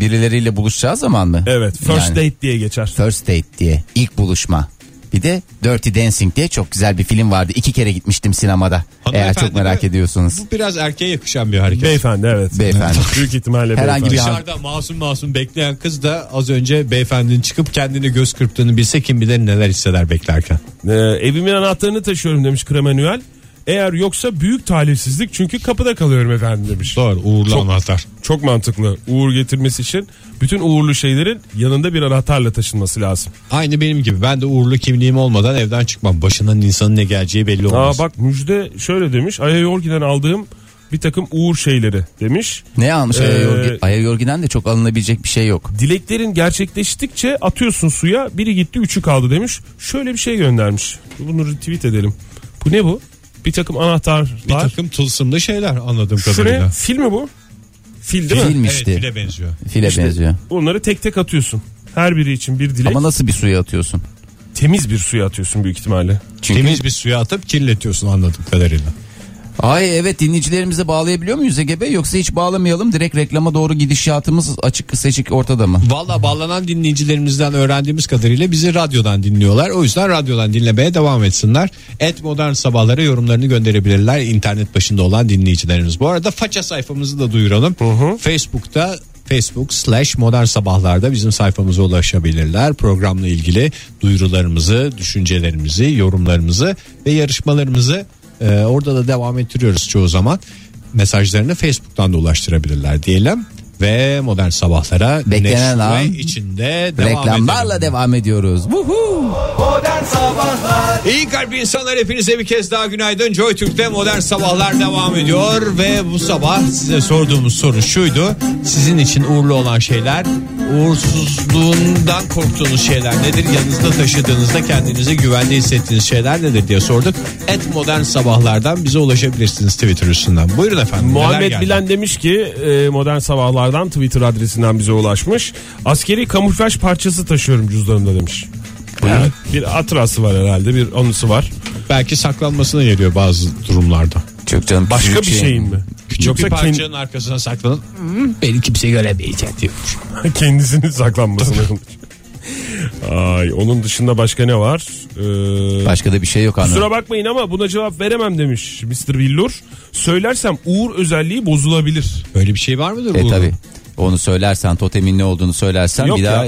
B: birileriyle buluşacağı zaman mı?
D: Evet first
B: Yani.
D: date diye geçer.
B: First Date diye ilk buluşma. Bir de Dirty Dancing diye çok güzel bir film vardı. İki kere gitmiştim sinemada. Eğer
C: Hanımefendi
B: çok merak
C: mi?
B: ediyorsunuz.
C: Bu biraz erkeğe yakışan bir hareket.
D: Beyefendi evet.
B: Beyefendi.
D: Büyük ihtimalle
B: Herhangi
D: beyefendi.
B: bir-
C: Dışarıda masum masum bekleyen kız da az önce beyefendinin çıkıp kendini göz kırptığını bilse kim bilir neler hisseder beklerken.
D: Ee, evimin anahtarını taşıyorum demiş Kremanuel. Eğer yoksa büyük talihsizlik çünkü kapıda kalıyorum efendim demiş.
C: Doğru uğurlu
D: Çok-
C: anahtar.
D: Çok mantıklı. Uğur getirmesi için bütün uğurlu şeylerin yanında bir anahtarla taşınması lazım.
C: Aynı benim gibi ben de uğurlu kimliğim olmadan evden çıkmam. Başından insanın ne geleceği belli olmaz.
D: Aa bak Müjde şöyle demiş. Ayayorgi'den aldığım bir takım uğur şeyleri demiş.
B: Ne almış
D: Ee,
B: Aya Yorgi? Aya Yorgi'den de çok alınabilecek bir şey yok.
D: Dileklerin gerçekleştikçe atıyorsun suya. Biri gitti üçü kaldı demiş. Şöyle bir şey göndermiş. Bunu retweet edelim. Bu ne bu? Bir takım anahtarlar.
C: bir takım tılsımlı şeyler anladığım
D: Şuraya
C: kadarıyla.
D: fil mi bu? Fil değil mi?
B: Filmişti.
C: Evet bile benziyor.
B: File
D: İşte
B: benziyor.
D: Onları tek tek atıyorsun. Her biri için bir dilek.
B: Ama nasıl bir suya atıyorsun?
D: Temiz bir suya atıyorsun büyük ihtimalle.
B: Çünkü
C: Temiz bir suya atıp kirletiyorsun anladığım kadarıyla.
B: Ay evet dinleyicilerimizi bağlayabiliyor muyuz Ege Bey? Yoksa hiç bağlamayalım direkt reklama doğru gidişatımız açık seçik ortada mı?
C: Valla bağlanan dinleyicilerimizden öğrendiğimiz kadarıyla bizi radyodan dinliyorlar. O yüzden radyodan dinlemeye devam etsinler. Et modern sabahlara yorumlarını gönderebilirler. internet başında olan dinleyicilerimiz. Bu arada faça sayfamızı da duyuralım. Facebook'ta Facebook slash modern sabahlarda bizim sayfamıza ulaşabilirler. Programla ilgili duyurularımızı, düşüncelerimizi, yorumlarımızı ve yarışmalarımızı e, orada da devam ettiriyoruz çoğu zaman. Mesajlarını Facebook'tan da ulaştırabilirler diyelim. Ve modern sabahlara
B: Beklenen
C: Next
B: an.
C: Way içinde devam
B: Reklamlarla
C: edelim.
B: devam ediyoruz. Vuhu.
C: İyi kalp insanlar hepinize bir kez daha günaydın. Joy Türk'te modern sabahlar devam ediyor ve bu sabah size sorduğumuz soru şuydu. Sizin için uğurlu olan şeyler, uğursuzluğundan korktuğunuz şeyler nedir? Yanınızda taşıdığınızda kendinize güvende hissettiğiniz şeyler nedir diye sorduk. Et modern sabahlardan bize ulaşabilirsiniz Twitter üstünden. Buyurun efendim. neler
D: Muhammed
C: geldi?
D: Bilen demiş ki e, modern sabahlardan Twitter adresinden bize ulaşmış. Askeri kamuflaj parçası taşıyorum cüzdanımda demiş. Yani bir hatırası var herhalde bir anısı var.
C: belki saklanmasına geliyor bazı durumlarda.
B: Çok canım.
D: Başka bir
B: küçük şey.
D: şeyin mi?
C: Küçük
D: Yoksa
C: bir
D: kend-
C: parçanın arkasına saklanıp "Hmm, beni kimse göremeyecek diyormuş.
D: kendisinin saklanmasını. Ay onun dışında başka ne var? Ee,
B: Başka da bir şey yok anladım.
D: Kusura bakmayın ama buna cevap veremem demiş Mr. Billur. Söylersem Uğur özelliği bozulabilir.
C: Böyle bir şey var mıdır?
B: E
C: bu?
B: tabi. Onu söylersen totemin ne olduğunu söylersen
D: Yok
B: bir
D: ya.
B: daha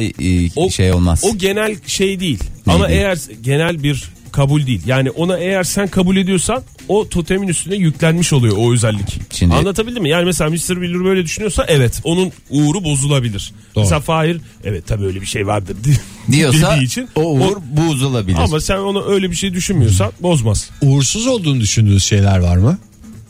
B: e, şey olmaz.
D: O genel şey değil.
B: Ne
D: ama
B: değil?
D: eğer genel bir kabul değil. Yani ona eğer sen kabul ediyorsan o totemin üstüne yüklenmiş oluyor o özellik.
B: Şimdi-
D: Anlatabildim mi? Yani mesela Mr. Billur böyle düşünüyorsa evet onun uğuru bozulabilir.
C: Doğru.
D: Mesela Fahir evet tabii öyle bir şey vardır
B: diyorsa
D: dediği için
B: o uğur bozulabilir.
D: Ama sen ona öyle bir şey düşünmüyorsan bozmaz.
C: uğursuz olduğunu düşündüğünüz şeyler var mı?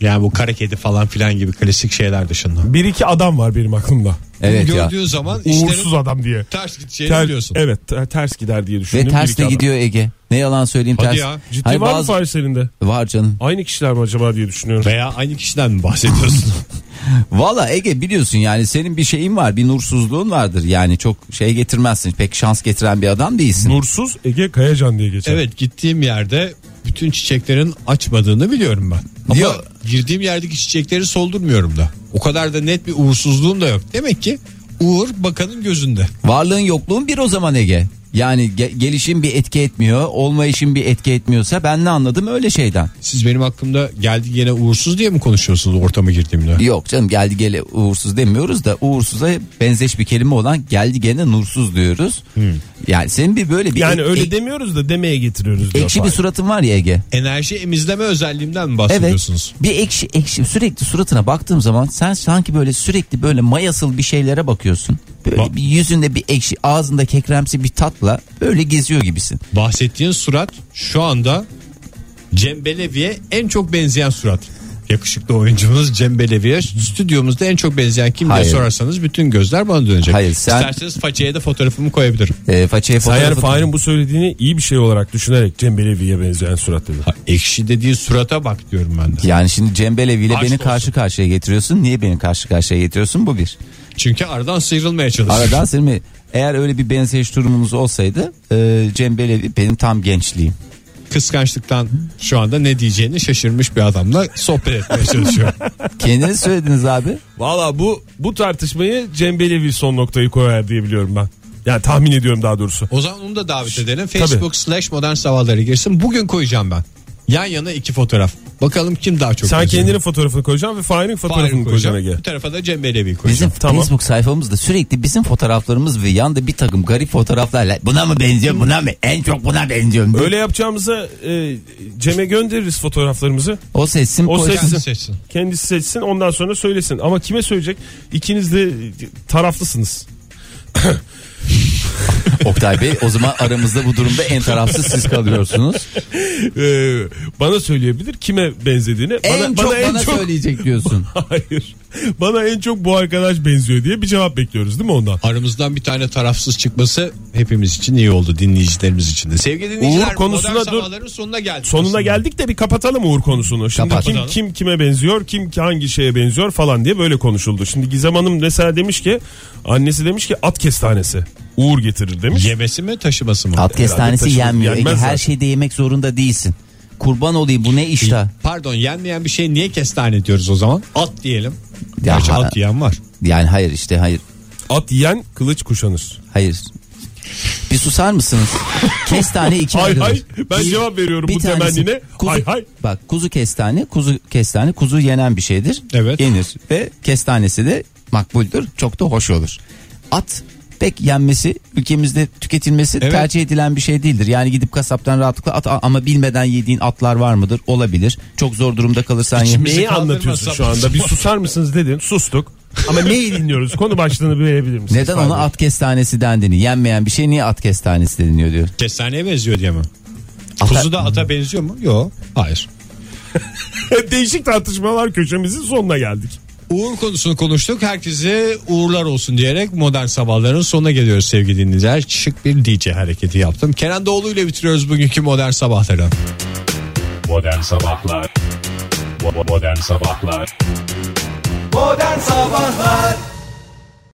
C: Yani bu kara kedi falan filan gibi klasik şeyler dışında.
D: Bir iki adam var benim aklımda.
B: Evet ya.
C: Gördüğün zaman
D: Uğursuz
C: işlerin
D: adam diye.
C: ters gideceğini
D: Ter-
C: biliyorsun.
D: evet ter- ters gider diye düşündüm.
B: Ve
D: bir
B: ters
D: iki
B: de
D: adam.
B: gidiyor Ege. Ne yalan söyleyeyim
C: Hadi
B: ters.
C: ya.
D: Ciddi
B: Hayır,
D: var
B: bazı-
D: mı Paris elinde?
B: Var canım.
D: Aynı kişiler mi acaba diye düşünüyorum.
C: Veya aynı kişiden mi bahsediyorsun?
B: Valla Ege biliyorsun yani senin bir şeyin var bir nursuzluğun vardır. Yani çok şey getirmezsin pek şans getiren bir adam değilsin.
D: Nursuz Ege Kayacan diye geçer.
C: evet gittiğim yerde bütün çiçeklerin açmadığını biliyorum ben. Ama
B: Yok.
C: girdiğim yerdeki çiçekleri soldurmuyorum da. O kadar da net bir uğursuzluğum da yok. Demek ki uğur bakanın gözünde.
B: Varlığın yokluğun bir o zaman Ege. Yani ge- gelişin bir etki etmiyor olmayışın bir etki etmiyorsa ben ne anladım öyle şeyden.
C: Siz benim aklımda geldi gene uğursuz diye mi konuşuyorsunuz ortama girdiğimde?
B: Yok canım geldi gele uğursuz demiyoruz da uğursuza benzeş bir kelime olan geldi gene nursuz diyoruz. Yani senin bir böyle bir
D: Hmm. Yani
B: ek-
D: öyle
B: ek-
D: demiyoruz da demeye getiriyoruz. diyor
B: ekşi bir
D: Fahir.
B: suratın var ya Ege.
C: Enerji emizleme özelliğimden mi
B: Evet.
C: bahsediyorsunuz?
B: Bir ekşi ekşi sürekli suratına baktığım zaman sen sanki böyle sürekli böyle mayasıl bir şeylere bakıyorsun. Böyle
C: Ba-
B: bir yüzünde bir ekşi, ağzında kekremsi bir tatla böyle geziyor gibisin.
C: bahsettiğin surat şu anda Cem Belevi'ye en çok benzeyen surat. Yakışıklı oyuncumuz Cem Belevi'ye stüdyomuzda en çok benzeyen kim diye
B: Hayır.
C: sorarsanız bütün gözler bana dönecek.
B: Hayır, sen-
C: İsterseniz façaya da fotoğrafımı koyabilirim.
B: Ee, façaya
D: Sayar
B: fotoğrafı.
D: Fahir'in bu söylediğini iyi bir şey olarak düşünerek Cem Belevi'ye benzeyen surat dedi.
C: Ha, ekşi dediği surata bak diyorum ben de.
B: Yani şimdi Cembelevi ile
C: Aşk
B: beni
C: olsun.
B: karşı karşıya getiriyorsun. Niye beni karşı karşıya getiriyorsun? Bu bir.
C: Çünkü aradan sıyrılmaya çalışıyor.
B: Aradan senin mi? Eğer öyle bir benzeş durumunuz olsaydı e, Cembelevi benim tam gençliğim.
C: Kıskançlıktan şu anda ne diyeceğini şaşırmış bir adamla sohbet etmeye çalışıyor.
B: Kendiniz söylediniz abi.
D: Valla bu bu tartışmayı Cem Belevi son noktayı koyar diye biliyorum ben. Yani tahmin ediyorum daha doğrusu.
C: O zaman onu da davet edelim. Facebook slash modern sabahları girsin. Bugün koyacağım ben. Yan yana iki fotoğraf. Bakalım kim daha çok
D: Sen
C: benziyor.
D: kendinin fotoğrafını koyacaksın ve Fahir'in fotoğrafını
C: Fahir'i
D: koyacaksın
C: koyacağım.
D: Ege.
C: Bu tarafa da Cem Belevi'yi
B: Bizim
C: koyacağım.
D: Tamam.
B: Facebook sayfamızda sürekli bizim fotoğraflarımız ve yanda bir takım garip fotoğraflarla buna mı benziyor buna mı en çok buna benziyorum. diye.
D: Öyle yapacağımıza e, Cem'e göndeririz fotoğraflarımızı.
B: O sesim
D: O
B: koy-
D: ses-
C: Kendisi seçsin.
D: Kendisi seçsin ondan sonra söylesin. Ama kime söyleyecek? İkiniz de taraflısınız.
B: Oktay Bey o zaman aramızda bu durumda en tarafsız siz kalıyorsunuz.
D: Ee, bana söyleyebilir kime benzediğini.
B: en
D: bana,
B: çok
D: bana en
B: bana
D: çok
B: söyleyecek diyorsun.
D: Hayır. Bana en çok bu arkadaş benziyor diye bir cevap bekliyoruz değil mi ondan?
C: Aramızdan bir tane tarafsız çıkması hepimiz için iyi oldu dinleyicilerimiz için de. Sevgili dinleyiciler
D: Uğur konusuna
C: modern
D: dur.
C: sabahların sonuna geldik.
D: Sonuna
C: aslında.
D: geldik de bir kapatalım Uğur konusunu. Şimdi
B: Kapat.
D: kim kim kime benziyor, kim hangi şeye benziyor falan diye böyle konuşuldu. Şimdi Gizem Hanım mesela demiş ki annesi demiş ki at kestanesi. Uğur getirir demiş.
C: Yemesi mi taşıması mı?
B: At
D: taşımız
B: kestanesi yenmiyor. Ege,
D: yenmez
B: her
D: zaten.
B: şeyde yemek zorunda değilsin. Kurban olayım bu ne iştah?
C: Pardon yenmeyen bir şey niye kestane diyoruz o zaman? At diyelim.
B: Ya
C: Gerçi
B: ha-
C: at yiyen var.
B: Yani hayır işte hayır.
D: At yiyen kılıç kuşanır.
B: Hayır. Bir susar mısınız? Kestane iki
D: Hay
B: ayrılır.
D: hay. Ben cevap veriyorum bu
B: tanesi
D: temennine.
B: kuzu-
D: Hay hay.
B: Bak kuzu kestane, kuzu kestane, kuzu yenen bir şeydir.
C: Evet.
B: Yenir ve kestanesi de makbuldür. Çok da hoş olur. At pek yenmesi, ülkemizde tüketilmesi
C: Evet.
B: tercih edilen bir şey değildir. Yani gidip kasaptan rahatlıkla at ama bilmeden yediğin atlar var mıdır? Olabilir. Çok zor durumda kalırsan ye.
C: İçimiz- Bizi
D: Hani Neyi anlatıyorsun şu
C: kandırmasam.
D: anda? Bir susar mısınız dedin. Sustuk. Ama neyi dinliyoruz? Konu başlığını verebilir misiniz?
B: Neden ona at kestanesi dendiğini, yenmeyen bir şey niye at kestanesi deniliyor diyor.
C: Kestaneye benziyor diye mi?
B: Ata-
C: Kuzu da ata benziyor mu? Yok. Hayır.
D: Değişik tartışmalar köşemizin sonuna geldik.
C: Uğur konusunu konuştuk. Herkese uğurlar olsun diyerek modern sabahların sonuna geliyoruz sevgili dinleyiciler. Şık bir DJ hareketi yaptım. Kenan Doğulu ile bitiriyoruz bugünkü modern sabahları.
A: Modern Sabahlar Bo- bo- Modern Sabahlar
G: Modern Sabahlar